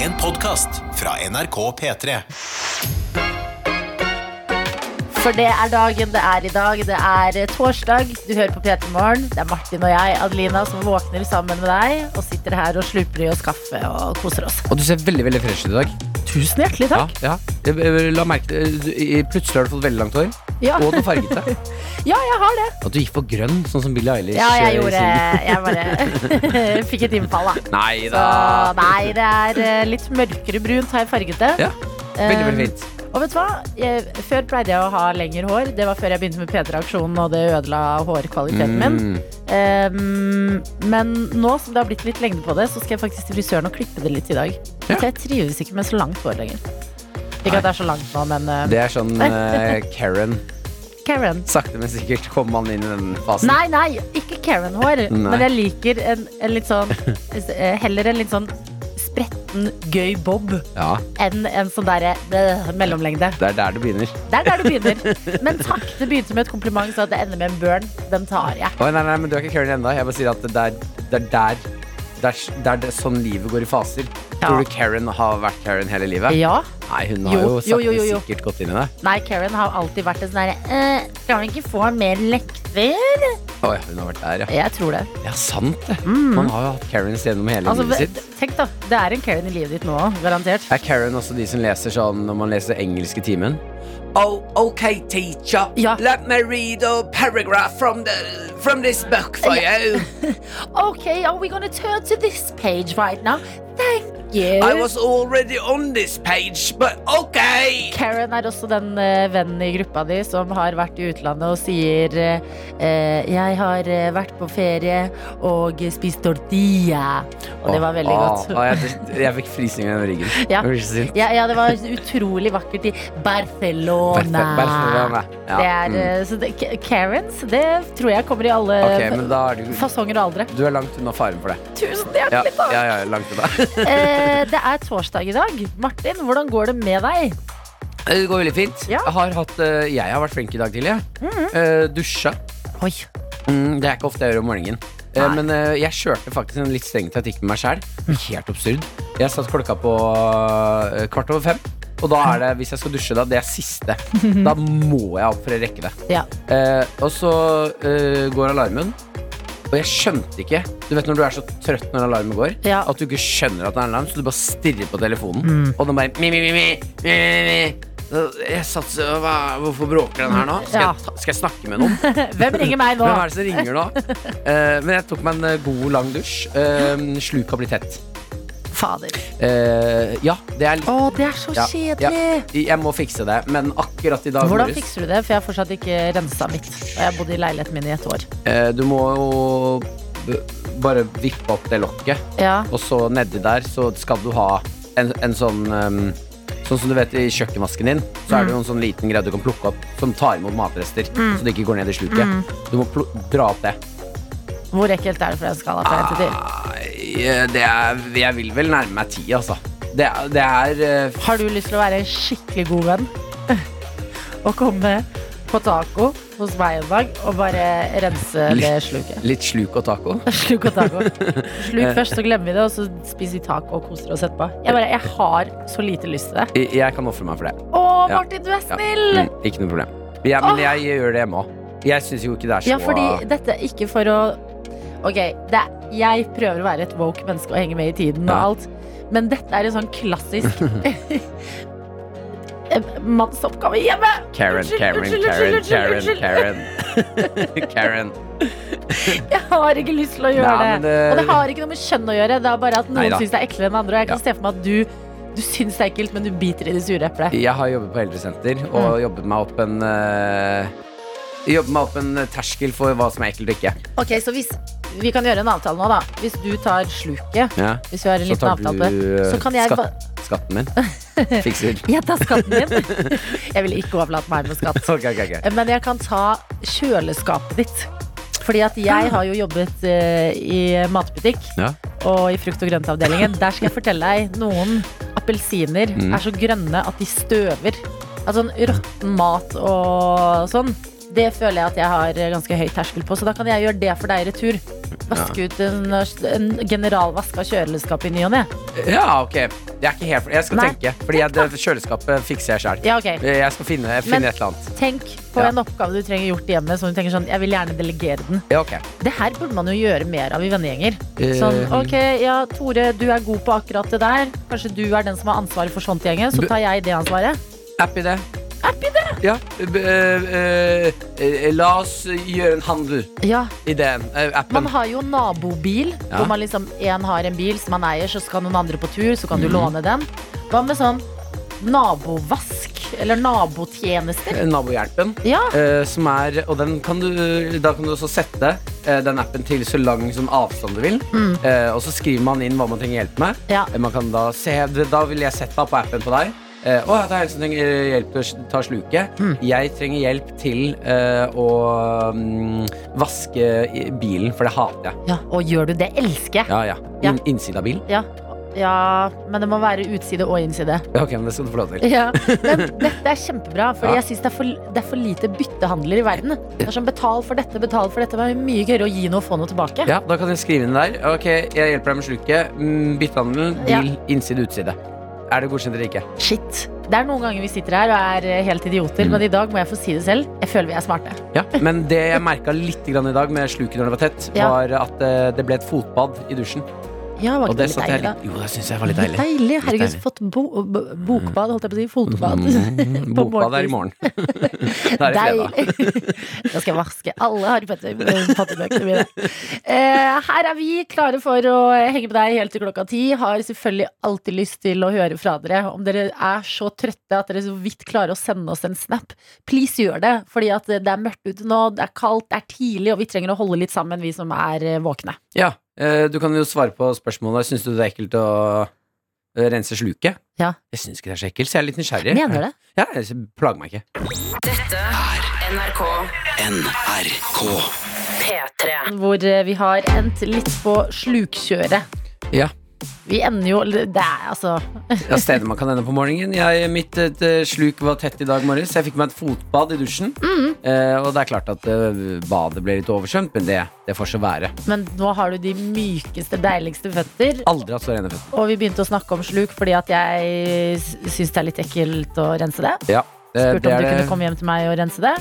En podkast fra NRK P3. For det er dagen det er i dag. Det er eh, torsdag. Du hører på P3 Morgen. Det er Martin og jeg, Adelina, som våkner sammen med deg og sitter her og slurper i oss kaffe og koser oss. Og du ser veldig veldig fresh ut i dag. Tusen hjertelig takk. Ja, ja. Jeg- jeg La merke til du- i- Plutselig har du fått veldig langt hår. Ja, Og du farget deg. ja jeg har det. At du gikk for grønn, sånn som Billie Eilish. Ja, jeg eh, gjorde sin. Jeg bare fikk et innfall, da. Nei Så da. nei, det er eh, litt mørkere brunt har jeg farget det. Ja, Veldig, veldig Eh, fint. Og vet du hva? Jeg, før pleide jeg å ha lengre hår. Det var før jeg begynte med P3-aksjonen, og det ødela hårkvaliteten min. Mm. Ehm, men nå som det har blitt litt lengde på det, så skal jeg faktisk til frisøren og klippe det litt i dag. Ja. For jeg trives ikke med så langt hår lenger. Ikke Nei. at det er så langt nå, men eh, Det er sånn eh, Karen. Karen. Sakte, men sikkert kommer man inn i den fasen. Nei, nei, ikke Karen-hår. Nei. Men jeg liker en, en litt sånn eh, Heller en litt sånn spretten, gøy bob Ja, enn en sånn derre eh, mellomlengde. Det er der det begynner. Det er der du begynner. Men takk, det begynte med et kompliment, så at det ender med en burn. Den tar jeg. Oi, nei, nei, men Du er ikke Karen ennå. Jeg bare sier at det er, det er der det er, s- det er det, sånn livet går i faser. Ja. Tror du Karen har vært Karen hele livet? Ja. Nei, hun har Jo, jo, jo, sakte, jo, jo, jo. sikkert gått inn i det. Nei, Karen har alltid vært en sånn derre eh, Kan vi ikke få mer lekter? Oi, hun har vært der, ja. Jeg tror det. Ja, sant det. Man har jo hatt Karens gjennom hele Mm. Altså, livet sitt. tenk, da. Det er en Karen i livet ditt nå òg, garantert. Er Karen også de som leser sånn når man leser engelske timen? Oh, ok, teacher. Ja. Let me read a paragraph from, the, from this book for you. OK, are we gonna turn to this page right now? Thank you. already on this page, but ok. Karen er også den eh, vennen i gruppa di som har vært i utlandet og sier eh, eh, Jeg har eh, vært på ferie og spist tortilla. Og det var veldig godt. jeg, jeg fikk frysninger gjennom ryggen. Ja. Jeg blir så sint. Ja, ja, det var utrolig vakkert i Barcelona. Barce- Barcelona, ja. Det er, Mm. eh, så det, K- Karens, det tror jeg kommer i alle Ok, men da er du, fasonger og aldre. du er langt unna faren for det. Tusen Ja, hjertelig takk! ja, ja langt unna. Eh, det er torsdag i dag. Martin, hvordan går det med deg? Eh, Det går veldig fint. Ja. Mhm. Jeg, har hatt, eh, jeg har vært flink i dag tidlig. jeg. Eh, Dusja. Oi. Mm, det er ikke ofte jeg gjør om morgenen. Eh, Nei. Men eh, jeg kjørte faktisk en litt streng taktikk med meg selv Helt absurd. Jeg satt klokka på eh, kvart over fem. Og da er det, hvis jeg skal dusje, da, det er siste. Da må jeg opp for å rekke det. Ja. Eh, og så eh, går alarmen, og jeg skjønte ikke Du vet når du er så trøtt når alarmen går, Ja. Mm. at du ikke skjønner at det er alarm, så du bare stirrer på telefonen, og den bare mi, mi, mi, mi, mi, mi, mi. Så Jeg satt så, hva, Hvorfor bråker den her nå? Skal, Ja. jeg, ta- skal jeg snakke med noen? Hvem ringer meg nå? Hvem er det som ringer nå? Eh, men jeg tok meg en eh, god, lang dusj. Uh, Sluka blir tett. Fader. Eh, ja, det er litt Å, det er så Ja, ja. kjedelig. Jeg må fikse det, men akkurat i dag Hvordan morges, fikser du det? For jeg har fortsatt ikke rensa mitt. Og jeg har bodd i leiligheten min i et år. eh, Du må jo b- bare vippe opp det lokket, Ja. og så nedi der så skal du ha en, en sånn ehm, Sånn som du vet I kjøkkenvasken din Så Mm. er det jo en sånn liten greie du kan plukke opp som tar imot matrester. Så det ikke går ned i sluket. Mm. Du må plu- dra opp det. Hvor ekkelt er det for en skala fra 1 til 10? Nei, det er, jeg vil vel nærme meg ti, altså. Det er, det er eh, Har du lyst til å være en skikkelig god venn? og komme på taco hos meg en dag og bare rense det sluket? litt sluk og taco. Sluk og taco. Sluk først, så glemmer vi det, og så spiser vi taco og koser oss etterpå. Jeg, bare, jeg har så lite lyst til det. Jeg, jeg kan ofre meg for det. Å, Ja. Martin, du er Ja. snill! Mm, ikke noe problem. Jeg, men jeg, gjør det hjemme òg. Jeg syns jo ikke det er så Ja, fordi dette er ikke for å Ok, det er, jeg prøver å være et woke menneske og henge med i tiden og Ja. alt, men dette er en sånn klassisk Eh, mannsoppgave hjemme! Karen, Unnskyld, Karen, unnskyld, Karen, unnskyld, Karen, unnskyld, Karen. Karen. Jeg har ikke lyst til å gjøre Nei, men det. det- Og det har ikke noe med kjønn å gjøre, det er bare at noen Neida. syns det er eklere enn andre. Og jeg kan Ja. se for meg at du, du syns det er ekkelt, men du biter i det sure eplet. Jeg har jobbet på eldresenter og jobbet meg opp en eh, Jobbet meg opp en eh, terskel for hva som er ekkelt og ikke. Ok, så hvis vi kan gjøre en avtale nå, da. Hvis du tar sluket, Ja. hvis vi har en Så liten tar du avtale, eh, så kan jeg ba- skatt, skatten min. Fikser. Jeg tar skatten din. Jeg ville ikke overlatt meg med skatt. Ok, ok, ok. Men jeg kan ta kjøleskapet ditt. Fordi at jeg har jo jobbet eh, i matbutikk Ja. og i frukt- og grøntavdelingen. Der skal jeg fortelle deg noen appelsiner Mm. er så grønne at de støver. Altså sånn råtten mat og sånn. Det føler jeg at jeg har ganske høy terskel på, så da kan jeg gjøre det for deg i retur. Vaske ut en, en generalvask av kjøleskapet i ny og ne. Ja, ok. Jeg er ikke helt Jeg skal Nei. tenke. Fordi jeg, det, kjøleskapet fikser jeg sjøl. Ja, ok. Jeg skal finne, jeg Men- finner et eller annet. Tenk på Ja. en oppgave du trenger gjort hjemme. Som du tenker sånn, jeg vil gjerne delegere den Ja, ok. Det her burde man jo gjøre mer av i vennegjenger. Eh, Sånn, ok, ja, Tore, du er god på akkurat det der. Kanskje du er den som har ansvaret for sånt i gjengen, så Bu- tar jeg det ansvaret. App i det. Ja. b- eh, eh, la oss gjøre en handel Ja, i den eh, appen. Man har jo nabobil, Ja. hvor man liksom en har en bil som man eier, så skal noen andre på tur, så kan du Mm. låne den. Hva med sånn nabovask? Eller nabotjenester? Nabohjelpen. Ja, eh, som er, og den kan du, da kan du også sette eh, den appen til så lang som avstand du vil. Eh, og så skriver man inn hva man trenger hjelp med. Ja. Eh, Man kan da se Da ville jeg sett deg på appen på deg. Eh, å, det er en som trenger eh, hjelp til å s- ta sluket. Jeg trenger hjelp til eh, å mm, vaske i- bilen, for det hater jeg. ja. Og gjør du det? Elsker jeg! Ja, ja. Ja. In, innside av bil. Ja. ja, men det må være utside og innside. Ja, Ok, men det skal du få lov til. Ja, men dette er kjempebra, for Ja. jeg syns det, er for- det er for lite byttehandler i verden. Det er sånn betal for dette, betal for dette. Men mye gøyere å gi noe og få noe tilbake. Ja, Da kan jeg skrive inn der. Ok, jeg hjelper deg med sluket. Mm, Byttehandel, Ja. bil, innside, utside. Er det godkjent eller ikke? Shit. Det er noen ganger vi sitter her og er eh, helt Mm. idioter, men i dag må jeg få si det selv. Jeg føler vi er smarte. Ja, men det jeg merka litt grann i dag med sluket når det var tett, Ja. var at eh, det ble et fotbad i dusjen. Ja, var Og ikke det det litt satte jeg deilig, da? litt Jo, det syns jeg var litt Litt deilig. deilig. Herregud, deilig. fått bo b- bokbad, holdt jeg på å si. Fotbad. Mm, På Bokbad er i morgen. da er det fredag. Deilig. Da skal jeg vaske alle Harry Potter- Potter-bøkene mine. Eh, her er vi klare for å henge med deg helt til klokka ti. Har selvfølgelig alltid lyst til å høre fra dere. Om dere er så trøtte at dere så vidt klarer å sende oss en snap, please gjør det. Fordi at det er mørkt ute nå, det er kaldt, det er tidlig, og vi trenger å holde litt sammen, vi som er eh, våkne. Ja, eh, du kan jo svare på spørsmålet. Syns du det er ekkelt å eh, rense sluket? Ja. Jeg syns ikke det er så ekkelt, så jeg er litt nysgjerrig. Mener det? Ja, jeg plager meg ikke. NRK NRK. P3. Hvor eh, vi har endt litt på slukkjøret. Ja. Vi ender jo eller Det er altså Ja, stedet man kan ende på morgenen. Jeg, mitt et, eh, sluk var tett i dag morges. Jeg fikk meg et fotbad i dusjen. Mm. Eh, og det er klart at eh, badet ble litt oversvømt, men det, det får så være. Men nå har du de mykeste, deiligste føtter. Aldri hatt så rene føtter. Og vi begynte å snakke om sluk fordi at jeg s- syns det er litt ekkelt å rense det. Ja, det, Spurte Eh, det om er du kunne det. komme hjem til meg og rense det.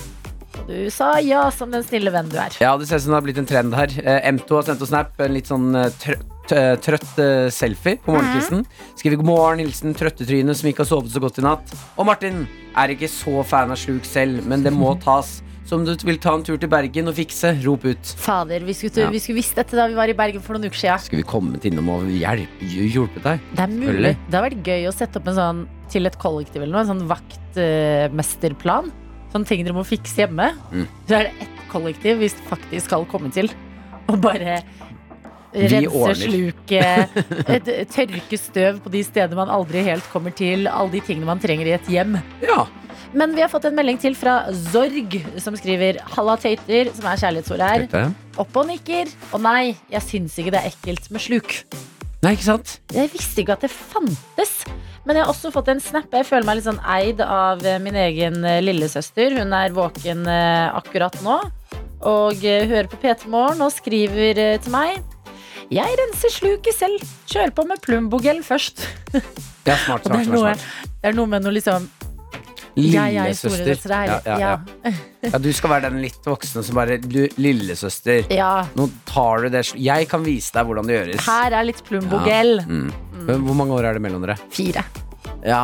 Og du sa ja, som den snille venn du er. Ja, det ser ut som det har blitt en trend her. Eh, M2 har sendt oss snap. En litt sånn eh, trø t- eh, trøtt eh, selfie på morgenkvisten. Mhm. Skriver 'God morgen, hilsen trøttetrynet som ikke har sovet så godt i natt'. Og Martin er ikke så fan av sluk selv, men det må tas. Så om du vil ta en tur til Bergen og fikse, rop ut. Fader, vi skulle, Ja. vi skulle visst dette da vi var i Bergen for noen uker siden. Skulle vi kommet innom og hjelp, hjulpet deg? Det er mulig. Selvfølgelig. Det har vært gøy å sette opp en sånn til et kollektiv eller noe. En sånn vaktmesterplan. Sånne ting dere må fikse hjemme. Mm. Så er det ett kollektiv vi faktisk skal komme til. Og bare Vi rense ordner. sluket, et- tørke støv på de stedene man aldri helt kommer til. Alle de tingene man trenger i et hjem. Ja. Men vi har fått en melding til fra Zorg, som skriver 'Halla, tøyter', som er kjærlighetsordet her. Opp og nikker. Og nei, jeg syns ikke det er ekkelt med sluk. Nei, ikke sant? Jeg visste ikke at det fantes. Men jeg har også fått en snap. Jeg føler meg litt sånn eid av eh, min egen eh, lillesøster. Hun er våken eh, akkurat nå og eh, hører på P3 Morgen og skriver eh, til meg. Jeg renser sluket selv. Kjør på med Plumbogel først. Ja, smart, Og det er smart, smart, noe, smart. det er noe med noe liksom Jeg er storesøster her. Ja, ja, ja. ja, du skal være den litt voksne som bare du, Lillesøster. ja. Nå tar du det sl- Jeg kan vise deg hvordan det gjøres. Her er litt Plumbogel. Mm. Men Hvor mange år er det mellom dere? Fire. Mm, Ja,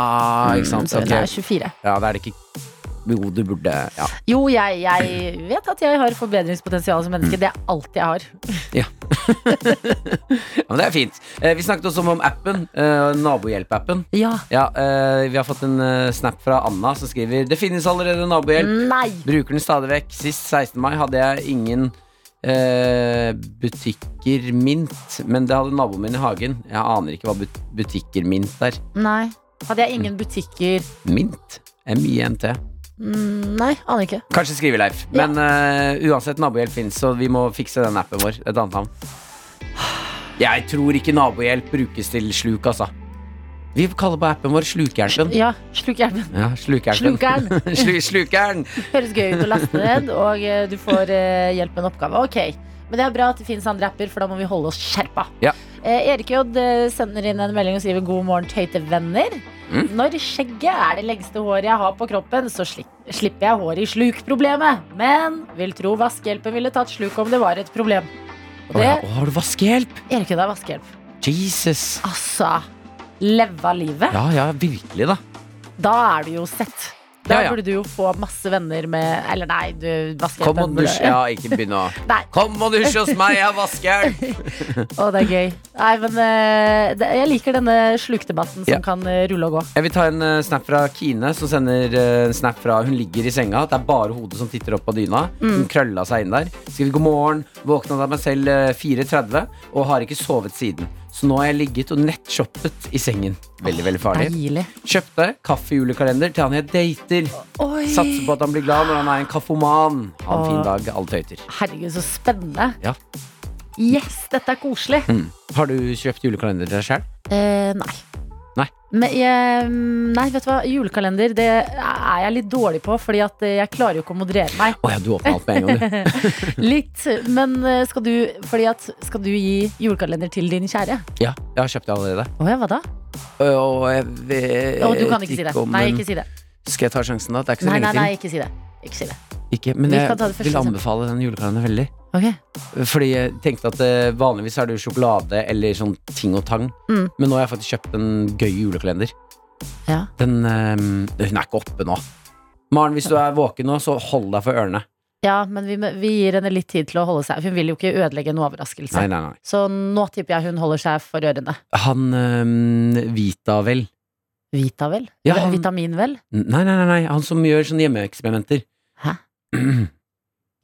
ikke sant. Så hun ok. er 24. Ja, det er det ikke Jo, du burde Ja. Jo, jeg, jeg vet at jeg har forbedringspotensial som menneske. Det er alt jeg har. ja men det er fint. Eh, vi snakket også om- om appen. Eh, nabohjelp-appen. Ja. Ja, eh, vi har fått en eh, snap fra Anna som skriver Det finnes allerede nabohjelp. Nei! Bruker den stadig vekk. Sist 16. mai hadde jeg ingen eh, butikker mint, men det hadde naboen min i hagen. Jeg aner ikke hva but butikker mint er. Nei. Hadde jeg ingen butikker Mint? M-I-N-T. Mm, Nei, aner ikke. Kanskje Skriveleif. Ja. Men eh, uansett, nabohjelp fins, så vi må fikse den appen vår. Et annet navn. Jeg tror ikke nabohjelp brukes til sluk, altså. Vi kaller på appen vår Slukjerpen. Ja, sluk hjelmen. Ja, Slukjerpen. Slukeren. Slu- Slukeren. Høres gøy ut å laste ned, og eh, du får eh, hjelp med en oppgave. Ok, men det er bra at det finnes andre apper, for da må vi holde oss skjerpa. Ja. Eh, Erik J eh, sender inn en melding og skriver 'God morgen, tøyte venner'. Mm. Når skjegget er det lengste håret jeg har på kroppen, så sli slipper jeg håret i slukproblemet. Men vil tro vaskehjelpen ville tatt sluk om det var et problem. Og Å, det ja. Å, har du vaskehjelp? Erik J er vaskehjelp. Jesus. Altså, leva livet. Ja, ja, virkelig, da. Da er du jo sett. Da Ja, ja. burde du jo få masse venner med Eller nei, du vaskehjelpen Kom og burde- dusj. Ja, ikke begynn å Nei. Kom og dusj hos meg, jeg har vaskehjelp! Å, det er gøy. Nei, men eh, det, jeg liker denne slukdebatten som Ja. kan eh, rulle og gå. Jeg vil ta en eh, snap fra Kine, som sender eh, en snap fra hun ligger i senga. Det er bare hodet som titter opp på dyna. Mm. Hun krølla seg inn der. Skriver god morgen. Våknet av meg selv eh, 4.30 og har ikke sovet siden. Så nå har jeg ligget og nettshoppet i sengen. Veldig, veldig farlig. Deilig. Kjøpte kaffejulekalender til han jeg dater. Oi. Satser på at han blir glad når han er en kaffoman. Ha en fin Åh. dag, alle tøyter. Herregud, så spennende. Ja. Yes, dette er koselig. Hmm. Har du kjøpt julekalender til deg sjøl? Eh, nei. Nei. Men, jeg, mm, nei, vet du hva? Julekalender det er jeg litt dårlig på, fordi at eh, jeg klarer jo ikke å moderere meg. Å ja, du åpna alt med en gang, du. Litt. Men eh, skal du, fordi at, skal du gi julekalender til din kjære? Ja, jeg har kjøpt det allerede. Å ja, hva da? Øh, Og jeg vet Å, du kan Eh, ikke si det. om Nei, den- ikke si det. Skal jeg ta sjansen, da? Det er ikke så Nei, nei, lenge nei, siden. ikke si det. Ikke si det. Ikke, men Vi jeg kan ta det første vil sammen. anbefale den julekalenderen veldig. Ok. Fordi jeg tenkte at eh, vanligvis er det jo sjokolade eller sånn ting og tang. Mm. Men nå har jeg faktisk kjøpt en gøy julekalender. Ja. Den eh, Hun er ikke oppe nå. Maren, hvis du er våken nå, så hold deg for ørene. Ja, men vi, vi gir henne litt tid til å holde seg. for Hun vil jo ikke ødelegge en overraskelse. Nei, nei, nei. Så nå tipper jeg hun holder seg for ørene. Han eh, Vita, vel? Vita vel? Ja, han- Vitamin vel? Nei, nei, nei, nei. Han som gjør sånne hjemmeeksperimenter. Hæ?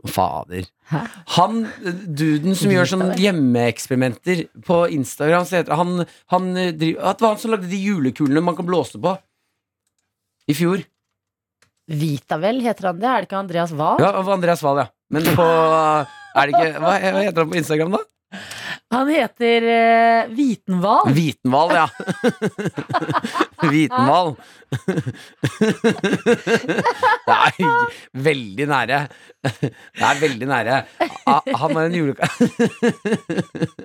Fader. Hæ? Han eh, duden som gjør sånne hjemmeeksperimenter på Instagram så heter, han, han eh, driver, at Det var han som lagde de julekulene man kan blåse på. I fjor. Vita vel heter han det? Er det ikke Andreas Wahl? Ja, det var Andreas Wahl, ja. Men på eh, er det ikke, hva, hva heter han på Instagram, da? Han heter eh, Vitenhval. Vitenhval, ja. Vitenhval. Nei, veldig nære. Det er veldig nære. Ah, Han er en juleka...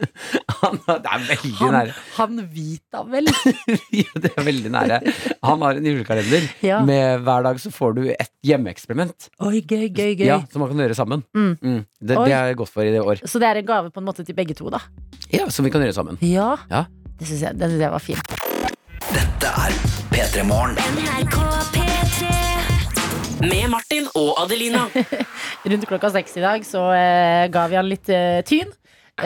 Han er, det er veldig Han, nære. han Vita vel? Ja, Det er veldig nære. Han har en julekalender. Ja. Med hver dag så får du et hjemmeeksperiment Oi, gøy, gøy, gøy. ja, som man kan gjøre sammen. Mm. Mm. Det, Oi. det er jeg godt for i det år. Så det er en gave på en måte til begge to, da. Ja, Som vi kan gjøre sammen. Ja. Ja. Det syns jeg, det synes jeg var fint. Dette er P3 Morgen. Med Martin og Adelina. Rundt klokka seks i dag så eh, ga vi han litt eh, tyn.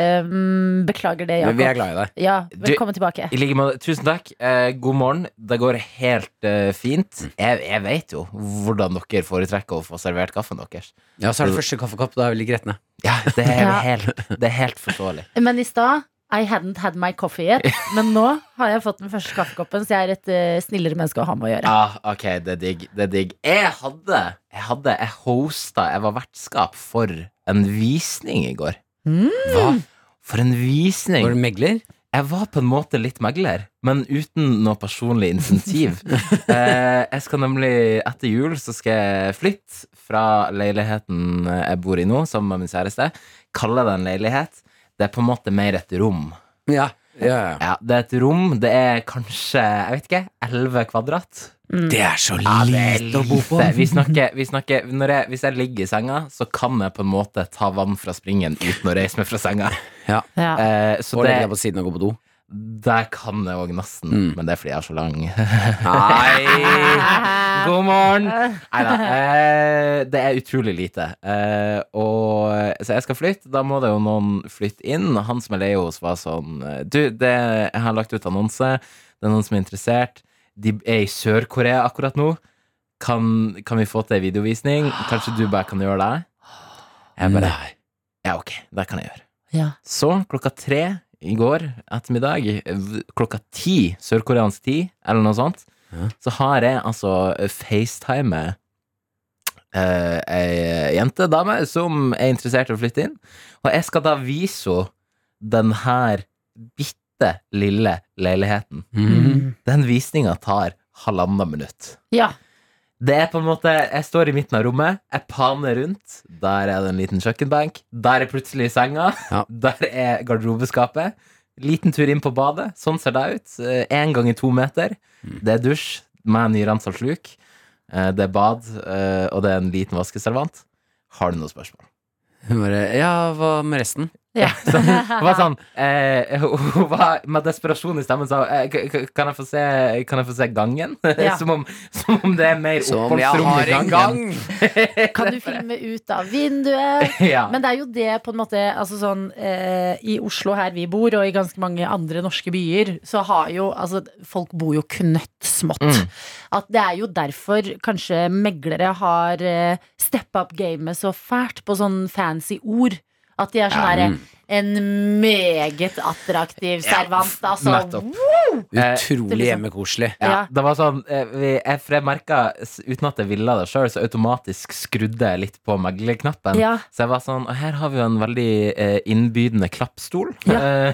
Um, beklager det, Men vi er Jakob. glad i deg. Ja, velkommen tilbake. I like måte. Tusen takk. Eh, god morgen. Det går helt eh, fint. Jeg, jeg vet jo hvordan dere foretrekker å få servert kaffen deres. Ja, Så er det første kaffekopp. Da er vi litt gretne. Ja, det er, Ja. Helt, det er helt forståelig. Men i stad I hadn't had my coffee yet. Men nå har jeg fått den første kaffekoppen, så jeg er et eh, snillere menneske å ha med å gjøre. Ja, ok, det er digg. Det er digg. Jeg hadde, jeg hadde, jeg hosta, jeg var vertskap for en visning i går. Mm. Hva? For en visning! Var du megler? Jeg var på en måte litt megler, men uten noe personlig insentiv. eh, jeg skal nemlig, etter jul, så skal jeg flytte fra leiligheten jeg bor i nå, sammen med min kjæreste. Kalle det en leilighet. Det er på en måte mer et rom. Ja, ja, ja. Ja, det er et rom. Det er kanskje, jeg vet ikke, 11 kvadrat. Mm. Det er så Lite. Vi snakker, vi snakker når jeg, Hvis jeg ligger i senga, så kan jeg på en måte ta vann fra springen uten å reise meg fra senga. Ja. Eh, så Og legge deg det, på siden og gå på do. der kan jeg òg nesten, Mm. men det er fordi jeg er så lang. Nei! God morgen! Nei da. Eh, det er utrolig lite. Eh, og, så jeg skal flytte. Da må det jo noen flytte inn. Han som jeg leier hos, var sånn eh, Du, det, jeg har lagt ut annonse. Det er noen som er interessert. De er i Sør-Korea akkurat nå. Kan, kan vi få til ei videovisning? Kanskje du bare kan gjøre det? Jeg bare Nei. Ja, ok. Det kan jeg gjøre. Ja. Så klokka tre i går ettermiddag, v- klokka ti sørkoreansk tid, eller noe sånt, Ja. så har jeg altså facetime eh, ei jente, dame, som er interessert i å flytte inn. Og jeg skal da vise henne den her bitte bitte lille leiligheten. Mm. Den visninga tar halvannet minutt. Ja. Det er på en måte, Jeg står i midten av rommet, jeg paner rundt. Der er det en liten kjøkkenbenk. Der er plutselig senga. Ja. Der er garderobeskapet. Liten tur inn på badet. Sånn ser det ut. Én gang i to meter. Mm. Det er dusj med nyrensa sluk. Eh, Det er bad, eh, og det er en liten vaskeservant. Har du noe spørsmål? Hun bare Ja, hva med resten? ja. Så hun var sånn eh, Hun var med desperasjon i stemmen sa hun, eh, k- k- kan, jeg få se, kan jeg få se gangen? Ja. som, om, som om det er mer Som jeg oppholdsrom i har en gang! gangen. Kan du filme ut av vinduet? Ja. Men det er jo det på en måte altså sånn, eh, I Oslo her vi bor, og i ganske mange andre norske byer, så har jo altså, folk bor jo knøttsmått. Mm. At det er jo derfor kanskje meglere har eh, steppa up gamet så fælt på sånn fancy ord. At de er sånn herre mm. En meget attraktiv servant, altså. nettopp. Eh, Det er Utrolig liksom- hjemmekoselig. Ja. Det var sånn, eh, vi- jeg, for jeg merka, uten at jeg ville det sjøl, så automatisk skrudde jeg litt på meglerknappen. Ja. Så jeg var sånn Og her har vi jo en veldig eh, innbydende klappstol. Ja. Eh,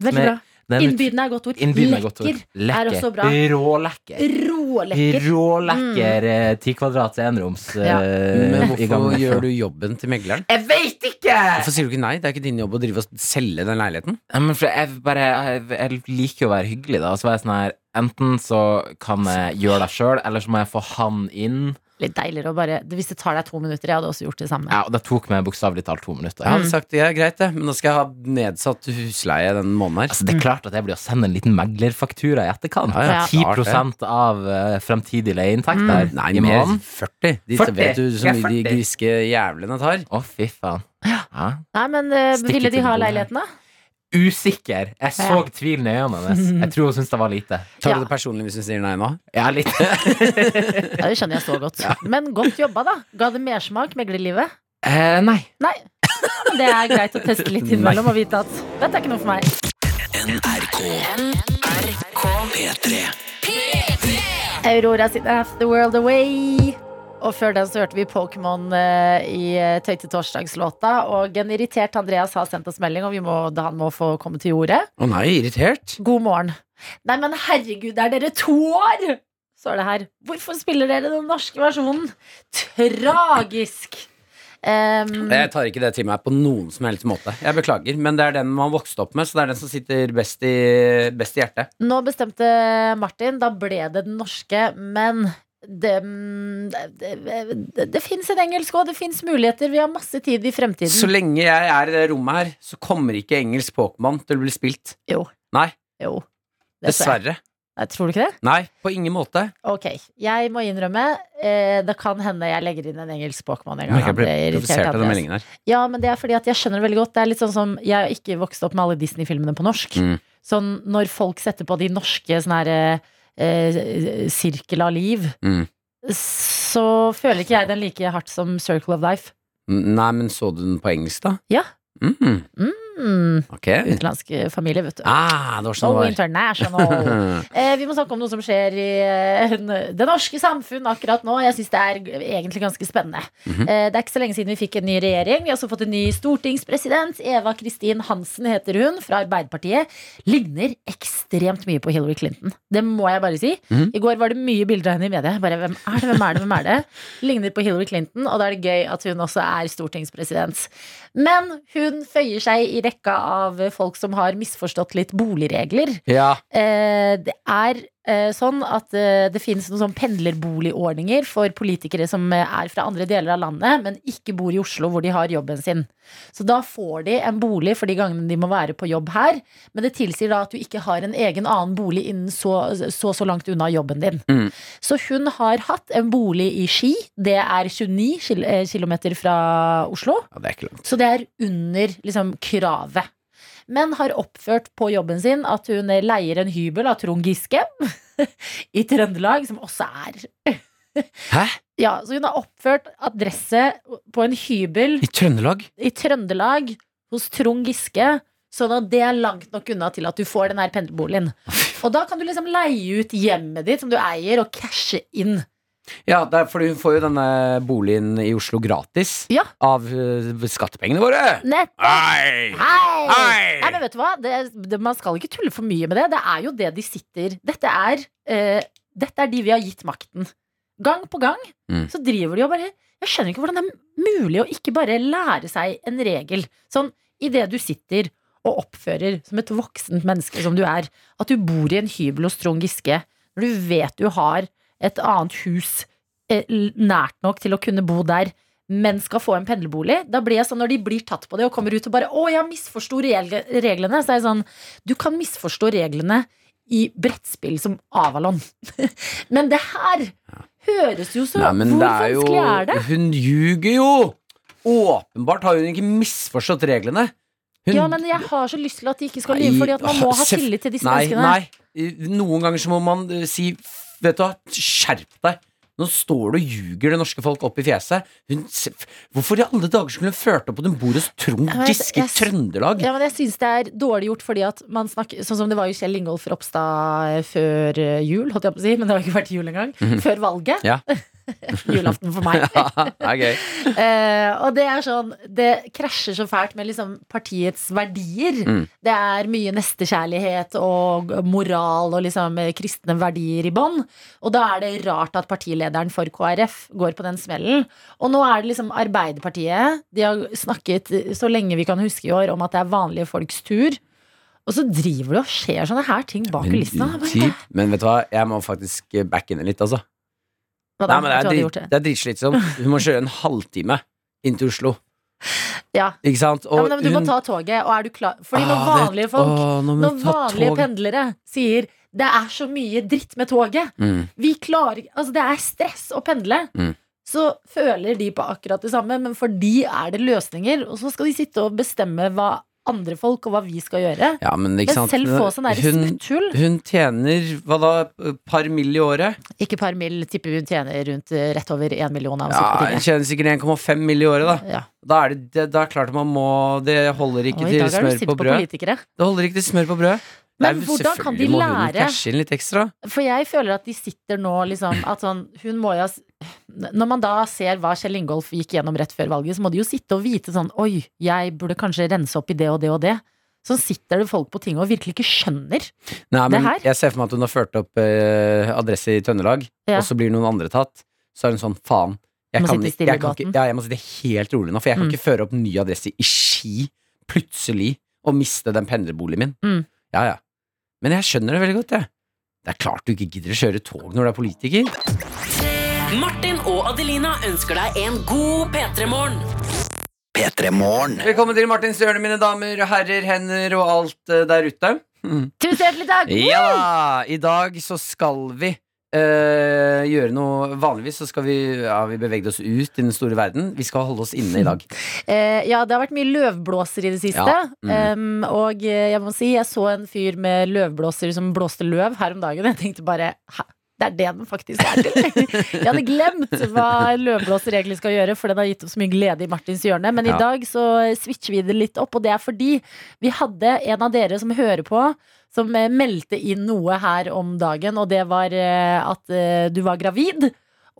Veldig med- bra. den ut- Innbydende er godt ord. innbydende er godt ord. Lekker er også bra. Rålekker. Rålekker. Mm. Rålekker eh, 10 kvadrats eneroms eh, Ja. Men i hvorfor gangen. gjør du jobben til megleren? Jeg veit ikke! Hvorfor sier du ikke nei? Det er ikke din jobb å drive og selge den leiligheten. Ja, men for jeg, bare, jeg, jeg liker jo å være hyggelig, da. Og så var jeg sånn her Enten så kan jeg gjøre det sjøl, eller så må jeg få han inn. Litt deiligere å bare Hvis det tar deg to minutter, jeg hadde også gjort det samme. Ja, og Det tok meg bokstavelig talt to minutter. Jeg hadde sagt ja, greit det, men da skal jeg ha nedsatt husleie den måneden her. Altså, det er klart at jeg blir å sende en liten meglerfaktura i etterkant. Ja, ja, klart 10 av eh, fremtidig leieinntekt der Nei, i mer måneden. 40. De 40. vet du så Jeg er mye de 40. griske jævlene tar. Å, fy faen. Ja. Nei, men eh, Stikke ville de til ha bordet. leiligheten, da? Usikker. Jeg så Ja. tvilen i øynene hennes. Jeg tror hun syntes det var lite. Tar Ja. du det personlig hvis du sier nei nå? Ja, lite. Ja, det skjønner jeg så godt. Men godt jobba, da. Ga det mersmak, meglerlivet? eh, nei. Nei. Men det er greit å teste litt innimellom og vite at dette er ikke noe for meg. NRK. P3. Aurora sin Half the World Away. Og før den så hørte vi Pokémon eh, i eh, Tøyte torsdagslåta. Og en irritert Andreas har sendt oss melding, og vi må, han må få komme til jordet. Å nei, irritert. God morgen. Nei, men herregud, er dere to år? Står det her. Hvorfor spiller dere den norske versjonen? Tragisk. Em, Jeg tar ikke det til meg på noen som helst måte. Jeg beklager, men det er den man vokste opp med, så det er den som sitter best i, best i hjertet. nå bestemte Martin, da ble det den norske, men det, det, det, det fins en engelsk òg, det fins muligheter. Vi har masse tid i fremtiden. Så lenge jeg er i det rommet her, så kommer ikke engelsk Pokémon til å bli spilt. Jo. Nei, jo. Det tror jeg. dessverre. Nei, Tror du ikke det? Nei, på ingen måte. Ok, jeg må innrømme eh, Det kan hende jeg legger inn en engelsk Pokémon en gang. Jeg Det ble irriterte provosert av den Andreas. meldingen her. Ja, men det er fordi at jeg skjønner det veldig godt. Det er litt sånn som Jeg har ikke vokst opp med alle Disney-filmene på norsk. Mm. Sånn når folk setter på de norske sånn her eh, Sirkel av liv, Mm. så føler ikke jeg den like hardt som Circle of Life. Nei, men så du den på engelsk, da? Ja. Mm, Mm, ok. utenlandsk familie, vet du. Ah, det var So sånn det international. var. Eh, vi må snakke om noe som skjer i eh, det norske samfunn akkurat nå. Jeg syns det er g- egentlig ganske spennende. Mhm. eh, det er ikke så lenge siden vi fikk en ny regjering. Vi har også fått en ny stortingspresident. Eva Kristin Hansen heter hun, fra Arbeiderpartiet. Ligner ekstremt mye på Hillary Clinton. Det må jeg bare si. Mhm. I går var det mye bilder av henne i media. Bare, hvem er det, hvem er det, hvem er det? Ligner på Hillary Clinton, og da er det gøy at hun også er stortingspresident. Men hun føyer seg i rekka av folk som har misforstått litt boligregler. Ja. Eh, det er eh, sånn at eh, det finnes noen sånn pendlerboligordninger for politikere som eh, er fra andre deler av landet, men ikke bor i Oslo hvor de har jobben sin. Så da får de en bolig for de gangene de må være på jobb her, men det tilsier da at du ikke har en egen annen bolig innen så så, så langt unna jobben din. Mm. Så hun har hatt en bolig i Ski, det er 29 kil eh, kilometer fra Oslo. ja, det er ikke langt. Så det er under liksom, kravet. Men har oppført på jobben sin at hun leier en hybel av Trond Giske i Trøndelag, som også er Hæ? Ja, så hun har oppført adresse på en hybel I Trøndelag? i Trøndelag hos Trond Giske, sånn at det er langt nok unna til at du får den her pendlerboligen. Og da kan du liksom leie ut hjemmet ditt som du eier, og cashe inn. Ja, det er fordi hun får jo denne boligen i Oslo gratis Ja. av eh, skattepengene våre. Nettopp! Hei! Hei! Hei! Nei, men vet du hva? Det, det, man skal ikke tulle for mye med det. Det er jo det de sitter Dette er, eh, dette er de vi har gitt makten. Gang på gang Mm. så driver de og bare Jeg skjønner ikke hvordan det er mulig å ikke bare lære seg en regel. Sånn idet du sitter og oppfører som et voksent menneske som du er, at du bor i en hybel hos Trond Giske, når du vet du har et annet hus eh, l- nært nok til å kunne bo der, men skal få en pendlerbolig, da blir jeg sånn når de blir tatt på det og kommer ut og bare 'Å, jeg misforsto regel- reglene', så er jeg sånn Du kan misforstå reglene i brettspill som Avalon. men det her høres jo så Nei, men Hvor det er jo, vanskelig er det? Hun ljuger jo! Åpenbart har hun ikke misforstått reglene. Hun, Ja, men jeg har så lyst til at de ikke skal Nei, lyve, fordi at man må ha selv- tillit til disse nei, menneskene. Nei, noen ganger så må man eh, si Vet du hva, skjerp deg. Nå står du og ljuger det norske folk opp i fjeset. Hun, se- hvorfor i alle dager skulle hun ført opp at hun bor hos Trond Jeg vet- Giske i jeg- Trøndelag? Ja, men jeg synes det er dårlig gjort fordi at man snakker Sånn som det var jo Kjell Ingolf Ropstad før eh, jul, holdt jeg på å si, men det har ikke vært jul engang. Før valget. Ja. Julaften for meg. det er gøy. Eh, og det er sånn Det krasjer så fælt med liksom partiets verdier. Mm. Det er mye nestekjærlighet og moral og liksom eh, kristne verdier i bånn. Og da er det rart at partilederen for KrF går på den smellen. Og nå er det liksom Arbeiderpartiet. De har snakket eh, så lenge vi kan huske i år om at det er vanlige folks tur. Og så driver det og skjer sånne her ting bak kulissene. Men, Hva typ, men vet du hva, jeg må faktisk eh, backe henne litt, altså. da? Nei, men Jeg tror det jeg hadde er, gjort drit, det. det er dritslitsomt. Hun må kjøre en halvtime inn til Oslo. Ja. Ikke sant? Ja, men Du må hun- ta toget, og er du klar? Fordi når Ah, det- vanlige folk Åh, nå må Når hun ta vanlige tog. pendlere sier det er så mye dritt med toget, Mm. vi klarer, ikke- altså det er stress å pendle, Mm. så føler de på akkurat det samme, men for de er det løsninger, og så skal de sitte og bestemme hva andre folk og hva vi skal gjøre. Ja, men Men ikke sant? selv få sånn der hun, smutthull. hun tjener hva da, et par mill. i året? Ikke par mil, tipper hun tjener rundt eh, rett over én million av å sitte Altså, på Ja, hun tinget. tjener sikkert 1,5 mill. i året, da. Ja. Da er det, det, da er det klart man må Det holder ikke Og i til dag har du smør sittet på på brød. politikere. Det holder ikke til smør på brød. Men Nei, hvordan kan de selvfølgelig må hun lære- cashe inn litt ekstra. For jeg føler at de sitter nå liksom at sånn, hun må jo ha s- Når man da ser hva Kjell Ingolf gikk gjennom rett før valget, så må de jo sitte og vite sånn Oi, jeg burde kanskje rense opp i det og det og det. Så sitter det folk på tinget og virkelig ikke skjønner. Nei, men her? jeg ser for meg at hun har ført opp eh, adresse i Trøndelag, Ja. og så blir noen andre tatt. Så er hun sånn, faen. Jeg Må kan, sitte ikke- stille i jeg kan båten. ikke, ja, jeg må sitte helt rolig nå, for jeg kan Mm. ikke føre opp ny adresse i Ski plutselig og miste den pendlerboligen min. Mm. Ja, ja. Men jeg skjønner det veldig godt, jeg. Det er klart du ikke gidder å kjøre tog når du er politiker. Martin og Adelina ønsker deg en god P3-morgen. P3 Morgen. Velkommen til Martins hjørne, mine damer og herrer, hender og alt eh, der ute. Tusen hjertelig takk! Ja da! I dag så skal vi eh, gjøre noe Vanligvis så skal vi Ja, vi beveget oss ut i den store verden. Vi skal holde oss inne i dag. Eh, ja, det har vært mye løvblåser i det siste. Ja, mm. Em, og eh, jeg må si, jeg så en fyr med løvblåser som blåste løv her om dagen. Jeg tenkte bare Hæ? Det er det den faktisk er til. Jeg hadde glemt hva en løvblåser egentlig skal gjøre, for den har gitt oss mye glede i Martins hjørne. Men Ja. i dag så switcher vi det litt opp, og det er fordi vi hadde en av dere som hører på, som eh, meldte inn noe her om dagen, og det var eh, at eh, du var gravid.